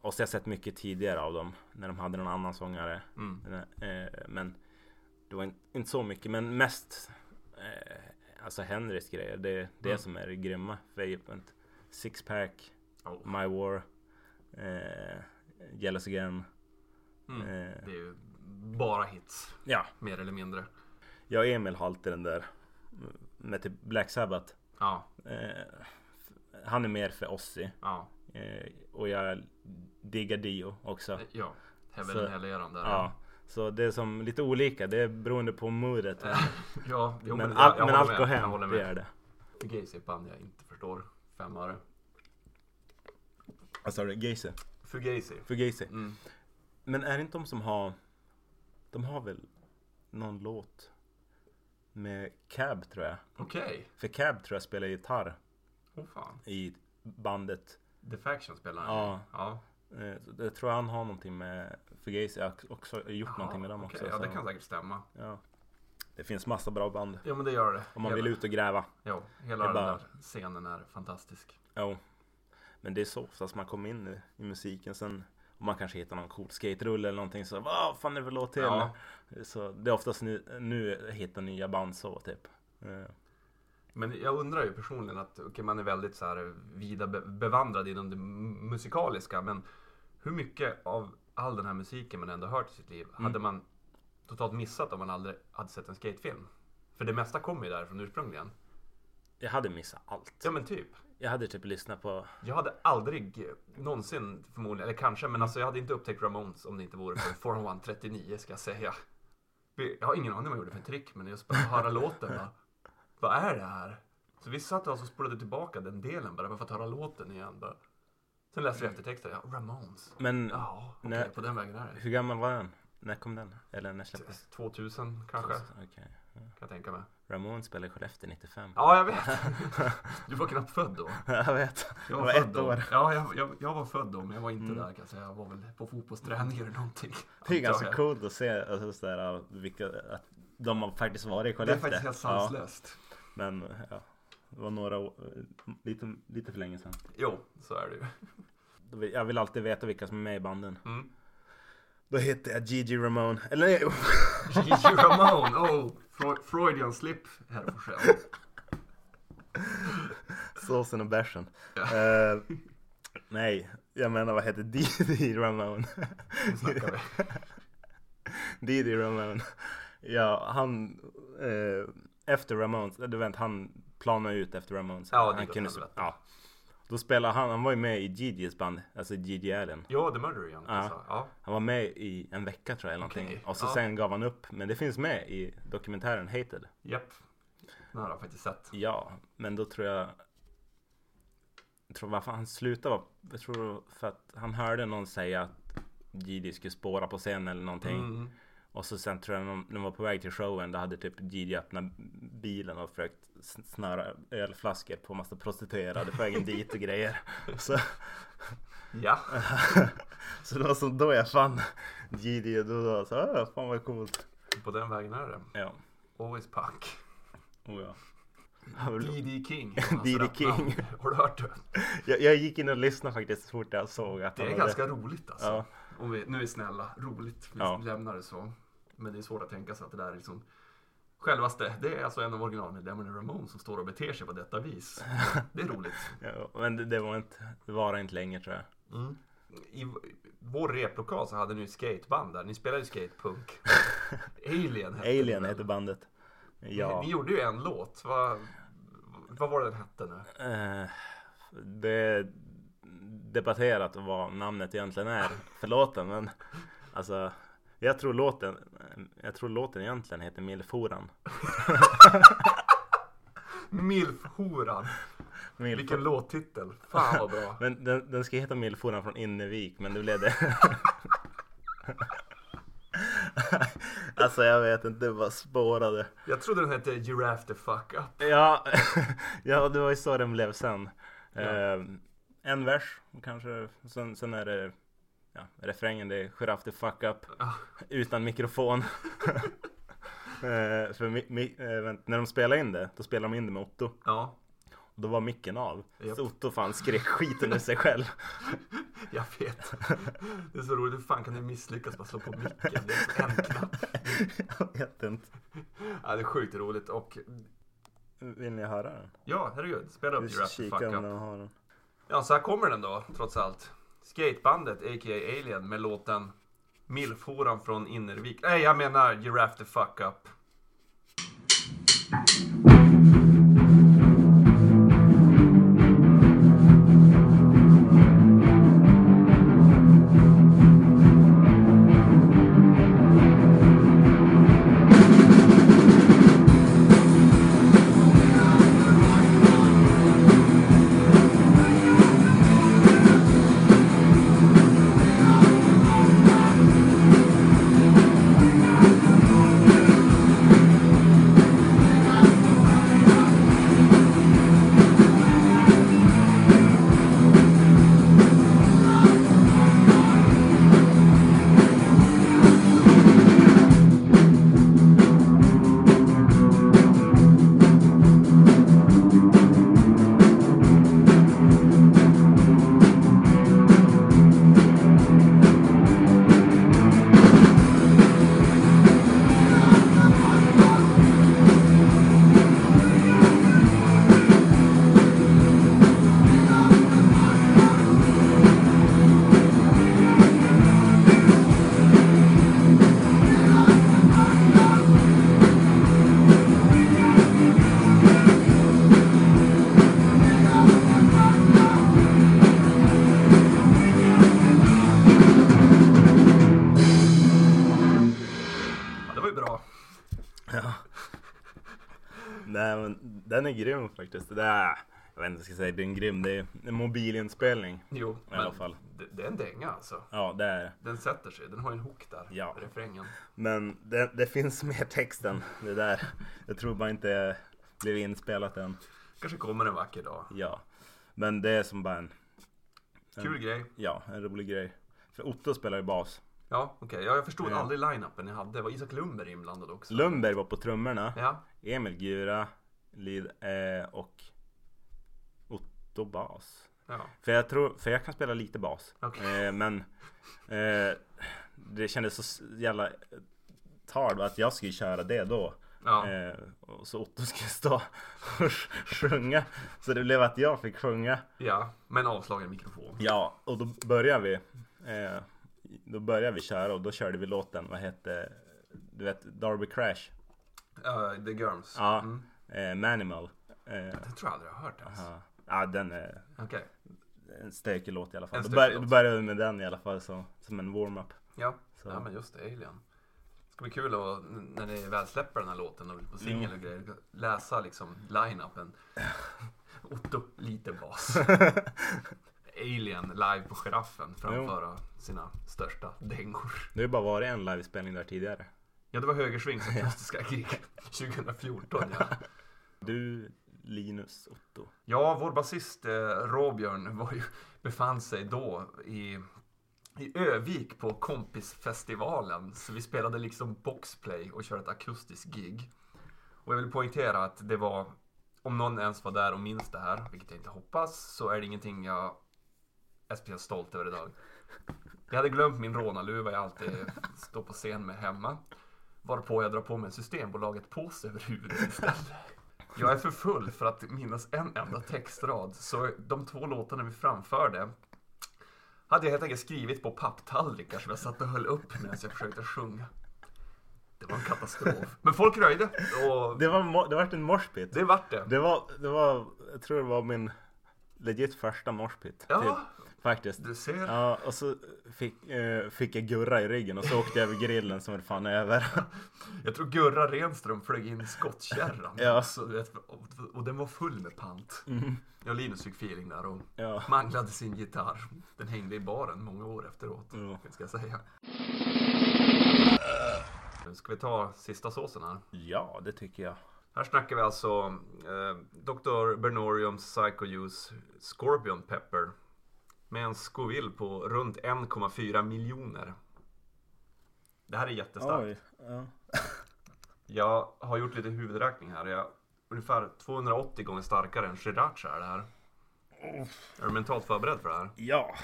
[SPEAKER 1] Och så har jag sett mycket tidigare av dem när de hade någon annan sångare.
[SPEAKER 2] Mm.
[SPEAKER 1] Eh, Men det var in- inte så mycket, men mest eh, alltså Henrys grejer. Det är det
[SPEAKER 2] Mm.
[SPEAKER 1] som är det grymma. Vapent, Sixpack,
[SPEAKER 2] Ja,
[SPEAKER 1] My War, eh, Jealous Again.
[SPEAKER 2] Mm.
[SPEAKER 1] Eh,
[SPEAKER 2] Det är ju bara hits,
[SPEAKER 1] ja,
[SPEAKER 2] mer eller mindre.
[SPEAKER 1] jag och Emil har alltid den där med typ Black Sabbath.
[SPEAKER 2] Ja,
[SPEAKER 1] Eh, han är mer för Ozzy
[SPEAKER 2] ja,
[SPEAKER 1] eh, och jag diggar Dio också.
[SPEAKER 2] ja. Heaven
[SPEAKER 1] Så-
[SPEAKER 2] and Hell eran där.
[SPEAKER 1] Ja, så det är som lite olika. Det är beroende på modet. Men,
[SPEAKER 2] ja jo,
[SPEAKER 1] men,
[SPEAKER 2] jag-
[SPEAKER 1] all,
[SPEAKER 2] jag
[SPEAKER 1] men
[SPEAKER 2] håller
[SPEAKER 1] allt
[SPEAKER 2] med.
[SPEAKER 1] går
[SPEAKER 2] Jag
[SPEAKER 1] hem.
[SPEAKER 2] håller
[SPEAKER 1] Det gör
[SPEAKER 2] med.
[SPEAKER 1] det.
[SPEAKER 2] Det Gacy är ett band jag inte förstår. Fem öre.
[SPEAKER 1] Vad sa du? Ah, Geise?
[SPEAKER 2] Fugazi.
[SPEAKER 1] För Geise.
[SPEAKER 2] Mm.
[SPEAKER 1] Men är det inte de som har... De har väl någon låt med Cab tror jag.
[SPEAKER 2] Okej.
[SPEAKER 1] För Cab tror jag spelar gitarr
[SPEAKER 2] Åh fan.
[SPEAKER 1] i bandet.
[SPEAKER 2] The Faction spelar han
[SPEAKER 1] Ja.
[SPEAKER 2] ja.
[SPEAKER 1] Eh, så Jag tror han har någonting med Fugazi. Jag har också gjort någonting med dem
[SPEAKER 2] okej.
[SPEAKER 1] också.
[SPEAKER 2] Ja, det
[SPEAKER 1] så-
[SPEAKER 2] kan säkert stämma.
[SPEAKER 1] ja. det finns massa bra band.
[SPEAKER 2] Ja, men det gör det.
[SPEAKER 1] Om man vill ut och gräva.
[SPEAKER 2] Jo, hela
[SPEAKER 1] Det
[SPEAKER 2] den
[SPEAKER 1] är bara-
[SPEAKER 2] där scenen är fantastisk.
[SPEAKER 1] Jo. Men det är så oftast man kommer in i, i musiken. Sen om man kanske hittar någon cool skaterulle eller någonting så vad fan är det för låt till?
[SPEAKER 2] Ja.
[SPEAKER 1] Så det är oftast nu, nu hittar nya band så typ. Eh,
[SPEAKER 2] Men jag undrar ju personligen att okej, man är väldigt så här vida be- bevandrad inom det m- musikaliska. Men hur mycket av all den här musiken man ändå hört i sitt liv hade man totalt missat om man aldrig hade sett en skatefilm? För det mesta kommer ju därifrån ursprungligen.
[SPEAKER 1] Jag hade missat allt.
[SPEAKER 2] Ja men typ.
[SPEAKER 1] Jag hade typ lyssnat på,
[SPEAKER 2] Jag hade aldrig någonsin förmodligen, eller kanske, men alltså jag hade inte upptäckt Ramones om det inte vore för 40139 ska jag säga. Jag har ingen aning vad jag gjorde för trick, men just bara höra låten bara, Vad är det här? Så vi satt oss och spolade tillbaka den delen bara, bara för att höra låten igen. Bara. Sen läste vi eftertexten, ja, Ramones.
[SPEAKER 1] men
[SPEAKER 2] Ja, okej,
[SPEAKER 1] Nej.
[SPEAKER 2] på den vägen är det.
[SPEAKER 1] hur gammal var den? När kom den? Eller när släpptes
[SPEAKER 2] 2000 kanske, kan
[SPEAKER 1] den? Okej.
[SPEAKER 2] jag tänka mig.
[SPEAKER 1] Ramon spelade i Skellefteå 95.
[SPEAKER 2] Ja, jag vet. Du var knappt född då.
[SPEAKER 1] (laughs) jag vet. Jag
[SPEAKER 2] Jag var,
[SPEAKER 1] var
[SPEAKER 2] född
[SPEAKER 1] ett
[SPEAKER 2] då.
[SPEAKER 1] år. Mm.
[SPEAKER 2] Ja, jag, jag, jag var född då, men jag var inte där kan jag säga. Jag var väl på fotbollsträning eller någonting.
[SPEAKER 1] Det är ganska
[SPEAKER 2] antar jag.
[SPEAKER 1] coolt att se alltså, sådär, vilka, att de har faktiskt varit i
[SPEAKER 2] Det är
[SPEAKER 1] Skellefteå.
[SPEAKER 2] faktiskt helt
[SPEAKER 1] ja,
[SPEAKER 2] sanslöst.
[SPEAKER 1] men ja, det var några år, eh, lite, lite för länge sedan.
[SPEAKER 2] Jo, så är det ju. (laughs)
[SPEAKER 1] Då vill- Jag vill alltid veta vilka som är med i banden.
[SPEAKER 2] Mm.
[SPEAKER 1] Då heter jag Gigi Ramone. Eller nej, (laughs)
[SPEAKER 2] Gigi Ramone, oh, Fro- Freudian slip, herr Forsell.
[SPEAKER 1] såsen och bärsen.
[SPEAKER 2] Ja.
[SPEAKER 1] Eh, nej, jag menar vad heter Didi Ramone?
[SPEAKER 2] Nu snackar vi.
[SPEAKER 1] (laughs) Didi Ramone. Ja, han... Eh, efter Ramones, du vet han planade ut efter Ramones.
[SPEAKER 2] Ja, det
[SPEAKER 1] han
[SPEAKER 2] är klart, jag vet.
[SPEAKER 1] ja. Då spelade han, han var ju med i Gigi's band, alltså Gigi Allen.
[SPEAKER 2] Ja, The Murder igen.
[SPEAKER 1] Ja.
[SPEAKER 2] alltså. Ja.
[SPEAKER 1] Han var med i en vecka tror jag eller
[SPEAKER 2] Okej,
[SPEAKER 1] någonting. Och så
[SPEAKER 2] ja.
[SPEAKER 1] sen gav han upp. Men det finns med i dokumentären Hated.
[SPEAKER 2] Japp. Den har jag faktiskt sett.
[SPEAKER 1] Ja, men då tror jag... Jag tror varför han slutade var... Jag tror för att han hörde någon säga att Gigi skulle spåra på scenen eller någonting.
[SPEAKER 2] Mm.
[SPEAKER 1] Och så sen tror jag när de var på väg till showen då hade typ Gigi öppnat bilen och försökt sn- snöra ölflaskor på massa prostituerade på
[SPEAKER 2] (laughs)
[SPEAKER 1] vägen dit och grejer. Så,
[SPEAKER 2] Ja,
[SPEAKER 1] (laughs) så det var som då jag fann Gigi och då var jag så "Ah, fan vad coolt.
[SPEAKER 2] på den vägen är det.
[SPEAKER 1] Ja,
[SPEAKER 2] Always punk.
[SPEAKER 1] oh, ja. Jag vill-
[SPEAKER 2] D.D.
[SPEAKER 1] (laughs)
[SPEAKER 2] King. var hans
[SPEAKER 1] D.D.
[SPEAKER 2] rapnamn.
[SPEAKER 1] King.
[SPEAKER 2] Har du hört det?
[SPEAKER 1] Jag, jag gick in och lyssnade faktiskt så fort jag såg att
[SPEAKER 2] Det
[SPEAKER 1] han
[SPEAKER 2] är
[SPEAKER 1] hade-
[SPEAKER 2] ganska roligt alltså.
[SPEAKER 1] Ja.
[SPEAKER 2] Om vi, nu är vi snälla, roligt. Vi
[SPEAKER 1] Ja.
[SPEAKER 2] lämnar det så. Men det är svårt att tänka sig att det där är liksom Självaste, det är alltså en av originalmedlemmarna i Ramones som står och beter sig
[SPEAKER 1] (laughs)
[SPEAKER 2] på detta vis. Det är roligt. (laughs)
[SPEAKER 1] Ja, men det, det var inte, det varade inte länge tror jag.
[SPEAKER 2] Mm. I vår replokal så hade ni ju skateband där. Ni spelade ju skatepunk.
[SPEAKER 1] (laughs)
[SPEAKER 2] Alien hette
[SPEAKER 1] Alien
[SPEAKER 2] den.
[SPEAKER 1] heter bandet. Ja,
[SPEAKER 2] Ni gjorde ju en låt. Vad, vad var det den hette nu?
[SPEAKER 1] eh, det är debatterat vad namnet egentligen är för låten. Men alltså, jag tror låten, jag tror låten egentligen heter Milforan.
[SPEAKER 2] Milfhoran.
[SPEAKER 1] Milf-
[SPEAKER 2] Vilken låttitel. Fan vad bra.
[SPEAKER 1] Men den, den ska heta Milforan från Innevik, men det blev det. (laughs) alltså jag vet inte, det bara spårade.
[SPEAKER 2] Jag trodde den hette Giraffe the fuck up.
[SPEAKER 1] Ja, (laughs) ja det var ju så den blev sen. Eh, en vers kanske, sen, sen är det ja, refrängen, det är Giraff the fuck up utan mikrofon. (laughs) Eh, för mi, mi, eh, vänt- när de spelade in det, då spelade de in det med Otto.
[SPEAKER 2] Ja,
[SPEAKER 1] Och då var micken av.
[SPEAKER 2] Japp.
[SPEAKER 1] Så Otto fan skrek skiten ur sig själv.
[SPEAKER 2] jag vet. Det är så roligt. Hur fan kan du misslyckas med att slå på micken? Det är en knapp.
[SPEAKER 1] (laughs) Jag vet inte.
[SPEAKER 2] Ja, det är sjukt roligt. Och
[SPEAKER 1] Vill ni höra den?
[SPEAKER 2] ja, herregud. Spela
[SPEAKER 1] Vi
[SPEAKER 2] upp
[SPEAKER 1] ska
[SPEAKER 2] Giraffe the
[SPEAKER 1] kika
[SPEAKER 2] fuck
[SPEAKER 1] om
[SPEAKER 2] up.
[SPEAKER 1] den har den.
[SPEAKER 2] Ja, så här kommer den då, trots allt. Skatebandet, a.k.a. Alien, med låten Milforan från Innervik. Nej, jag menar Giraffe the fuck up. Ja, det var ju bra.
[SPEAKER 1] (laughs) Nej men den är grym faktiskt. Det är, jag vet inte vad jag ska säga, det är en grym. Det är en mobilinspelning.
[SPEAKER 2] Jo,
[SPEAKER 1] I alla fall.
[SPEAKER 2] Det, det är en dänga alltså.
[SPEAKER 1] Ja det är det.
[SPEAKER 2] Den sätter sig. Den har en hook där,
[SPEAKER 1] Ja.
[SPEAKER 2] refrängen.
[SPEAKER 1] Men det, det finns mer text än det där. Jag tror bara inte blev inspelat än.
[SPEAKER 2] Kanske kommer en vacker dag.
[SPEAKER 1] Ja. Men det är som bara en,
[SPEAKER 2] Kul grej.
[SPEAKER 1] ja, en rolig grej. För Otto spelar ju bas.
[SPEAKER 2] Ja, okej. Ja, jag förstod aldrig line-upen ni hade. Det var Isak Lundberg inblandad också.
[SPEAKER 1] Lundberg var på trummorna.
[SPEAKER 2] Ja,
[SPEAKER 1] Emil Gura Lid, eh, och Otto bas.
[SPEAKER 2] ja.
[SPEAKER 1] För jag, tror, för jag kan spela lite bas.
[SPEAKER 2] Okej.
[SPEAKER 1] Eh, men eh, det kändes så s- jävla tard att jag skulle köra det då.
[SPEAKER 2] Ja.
[SPEAKER 1] Eh, och så Otto skulle stå och sj- sjunga. Så det blev att jag fick sjunga.
[SPEAKER 2] ja. Men avslagen mikrofon.
[SPEAKER 1] Ja, och då började vi. Eh, då började vi köra och då körde vi låten, vad hette, du vet, Darby Crash.
[SPEAKER 2] Eh, The Germs.
[SPEAKER 1] Ja, eh, Manimal. Eh,
[SPEAKER 2] Det tror jag aldrig jag har hört ens.
[SPEAKER 1] ja. ja, den är
[SPEAKER 2] Okej.
[SPEAKER 1] en stökig låt i alla fall.
[SPEAKER 2] En
[SPEAKER 1] Då,
[SPEAKER 2] stökig
[SPEAKER 1] bör,
[SPEAKER 2] låt.
[SPEAKER 1] då började vi med den i alla fall som, som en warm-up.
[SPEAKER 2] Ja. ja, men just det. Alien. Det ska bli kul att, n- när ni väl släpper den här låten och blir på singel och grejer, läsa liksom line-upen. Otto, lite bas. Alien live på Giraffen framföra sina största dängor.
[SPEAKER 1] (laughs) Det har ju bara varit en livespelning där tidigare.
[SPEAKER 2] Ja, det var högersvings akustiska gig 2014. Ja.
[SPEAKER 1] Du, Linus, Otto.
[SPEAKER 2] Ja, vår basist eh, Råbjörn var ju, (laughs) befann sig då i, i Övik på Kompisfestivalen. Så vi spelade liksom boxplay och körde ett akustiskt gig. Och jag vill poängtera att det var, om någon ens var där och minns det här, vilket jag inte hoppas, så är det ingenting jag är speciellt stolt över idag. Jag hade glömt min rånarluva jag alltid står på scen med hemma. Varpå jag drar på mig en Systembolaget-påse över huvudet istället. Jag är för full för att minnas en enda textrad, så de två låtarna vi framförde hade jag helt enkelt skrivit på papptallrikar som jag satt och höll upp medan jag försökte sjunga. Det var en katastrof. Men folk röjde och
[SPEAKER 1] Det var, mo- det var en moshpit.
[SPEAKER 2] det vart det.
[SPEAKER 1] Det var, det var, jag tror det var min legit första moshpit. Typ,
[SPEAKER 2] Ja.
[SPEAKER 1] faktiskt.
[SPEAKER 2] Du ser.
[SPEAKER 1] Ja, och så fick, eh, fick jag gurra i ryggen och så åkte jag över grillen som är fan över. (laughs)
[SPEAKER 2] Jag tror Gurra Renström flög in skottkärran.
[SPEAKER 1] Ja. Mm.
[SPEAKER 2] Så, du vet, och, och den var full med pant. Jag och Linus fick feeling där och
[SPEAKER 1] Ja.
[SPEAKER 2] manglade sin gitarr. Den hängde i baren många år efteråt,
[SPEAKER 1] Ja.
[SPEAKER 2] ska jag säga. Nu ska vi ta sista såsen här.
[SPEAKER 1] Ja, det tycker jag.
[SPEAKER 2] Här snackar vi alltså eh, Dr. Bernoriums Psycho Juice Scorpion Pepper med en Scoville på runt 1,4 miljoner. Det här är jättestarkt.
[SPEAKER 1] Oj. Ja.
[SPEAKER 2] Jag har gjort lite huvudräkning här. Jag, ungefär 280 gånger starkare än Sriracha är det här. Är du mentalt förberedd för det här?
[SPEAKER 1] ja.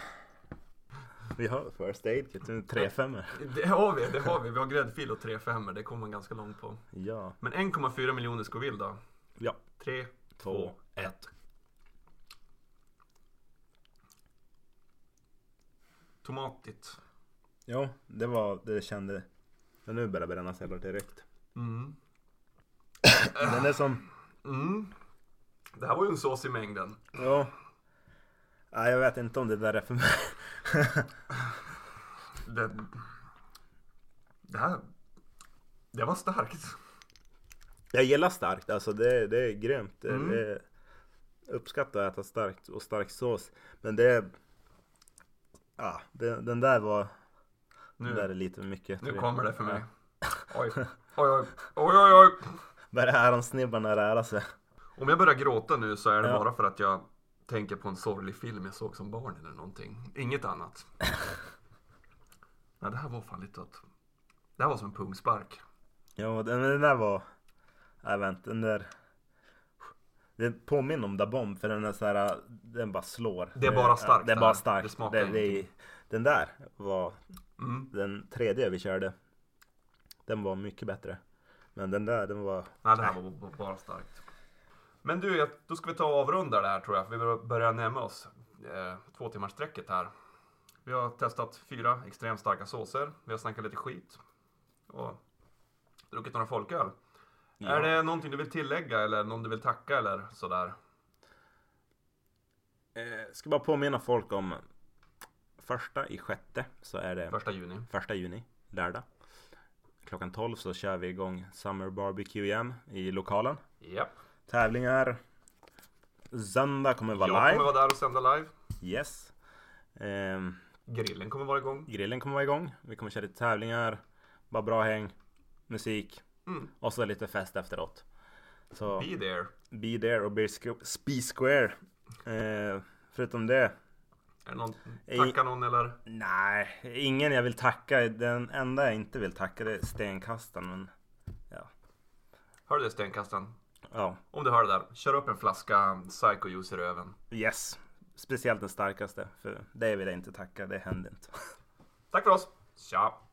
[SPEAKER 1] Vi har first aid kit, nu tre femmor.
[SPEAKER 2] Det har vi, det har vi. Vi har gräddfil och 3 5 det kommer man ganska långt på.
[SPEAKER 1] Ja.
[SPEAKER 2] Men 1,4 miljoner Scoville då?
[SPEAKER 1] Ja.
[SPEAKER 2] 3, 2, 1. Tomatigt.
[SPEAKER 1] Ja, det var det jag kände. Men nu börjar det brännas heller direkt.
[SPEAKER 2] Mm.
[SPEAKER 1] Den är som,
[SPEAKER 2] Mm. Det här var ju en sås i mängden.
[SPEAKER 1] ja. Nej, jag vet inte om det där är för mig.
[SPEAKER 2] Det, det här... Det var starkt.
[SPEAKER 1] Jag gillar starkt, alltså det, det är grymt. Det, det, uppskattar att äta starkt och stark sås. Men det... Ja, det, den där var...
[SPEAKER 2] Nu-
[SPEAKER 1] Den där är lite mycket.
[SPEAKER 2] Nu kommer det för mig. Oj, oj, oj, oj, oj, oj.
[SPEAKER 1] Börjar häronsnibbarna röra sig?
[SPEAKER 2] Om jag börjar gråta nu så är det
[SPEAKER 1] Ja.
[SPEAKER 2] bara för att jag tänker på en sorglig film jag såg som barn eller någonting. Inget annat. Nej, det här var fan lite att... Det här var som en pungspark.
[SPEAKER 1] Ja, den, den där var... Nej, vänta, den där... Det påminner om Da Bomb för den är så här, den bara slår.
[SPEAKER 2] Det är bara starkt
[SPEAKER 1] Det är
[SPEAKER 2] där.
[SPEAKER 1] bara
[SPEAKER 2] Det
[SPEAKER 1] starkt. Det
[SPEAKER 2] smakar
[SPEAKER 1] det, den där var
[SPEAKER 2] Mm.
[SPEAKER 1] den tredje vi körde. Den var mycket bättre. Men den där, den var...
[SPEAKER 2] Nej, det här var b- bara starkt. Men du, jag- då ska vi ta och avrunda det här tror jag. För vi bör- börjar närma oss eh, två timmars sträcket här. Vi har testat fyra extremt starka såser. Vi har snackat lite skit. Och druckit några folköl. Är det någonting du vill tillägga eller någon du vill tacka eller sådär?
[SPEAKER 1] Eh, ska bara påminna folk om första i sjätte så är det
[SPEAKER 2] Första juni.
[SPEAKER 1] första juni, lördag. Klockan 12 så kör vi igång Summer Barbecue igen i lokalen.
[SPEAKER 2] Japp.
[SPEAKER 1] Tävlingar. Söndag kommer
[SPEAKER 2] Jag
[SPEAKER 1] vara live.
[SPEAKER 2] kommer vara där och sända live.
[SPEAKER 1] Yes. Ehm,
[SPEAKER 2] Grillen kommer vara igång.
[SPEAKER 1] grillen kommer vara igång. Vi kommer köra lite tävlingar. Bara bra häng. Musik.
[SPEAKER 2] Mm.
[SPEAKER 1] Och så lite fest efteråt. Så
[SPEAKER 2] Be there.
[SPEAKER 1] be there och be, squ- be square. Eh, förutom det.
[SPEAKER 2] Är det någon,
[SPEAKER 1] Ej.
[SPEAKER 2] tacka någon eller?
[SPEAKER 1] Nej, ingen jag vill tacka. Den enda jag inte vill tacka det är stenkastaren. Men ja.
[SPEAKER 2] Hör du det stenkastan?
[SPEAKER 1] ja,
[SPEAKER 2] Om du hör det där, kör upp en flaska Psycho Juice i röven.
[SPEAKER 1] yes. Speciellt den starkaste. För det vill jag inte (laughs) tacka. Det hände inte.
[SPEAKER 2] Tack för oss! Tja!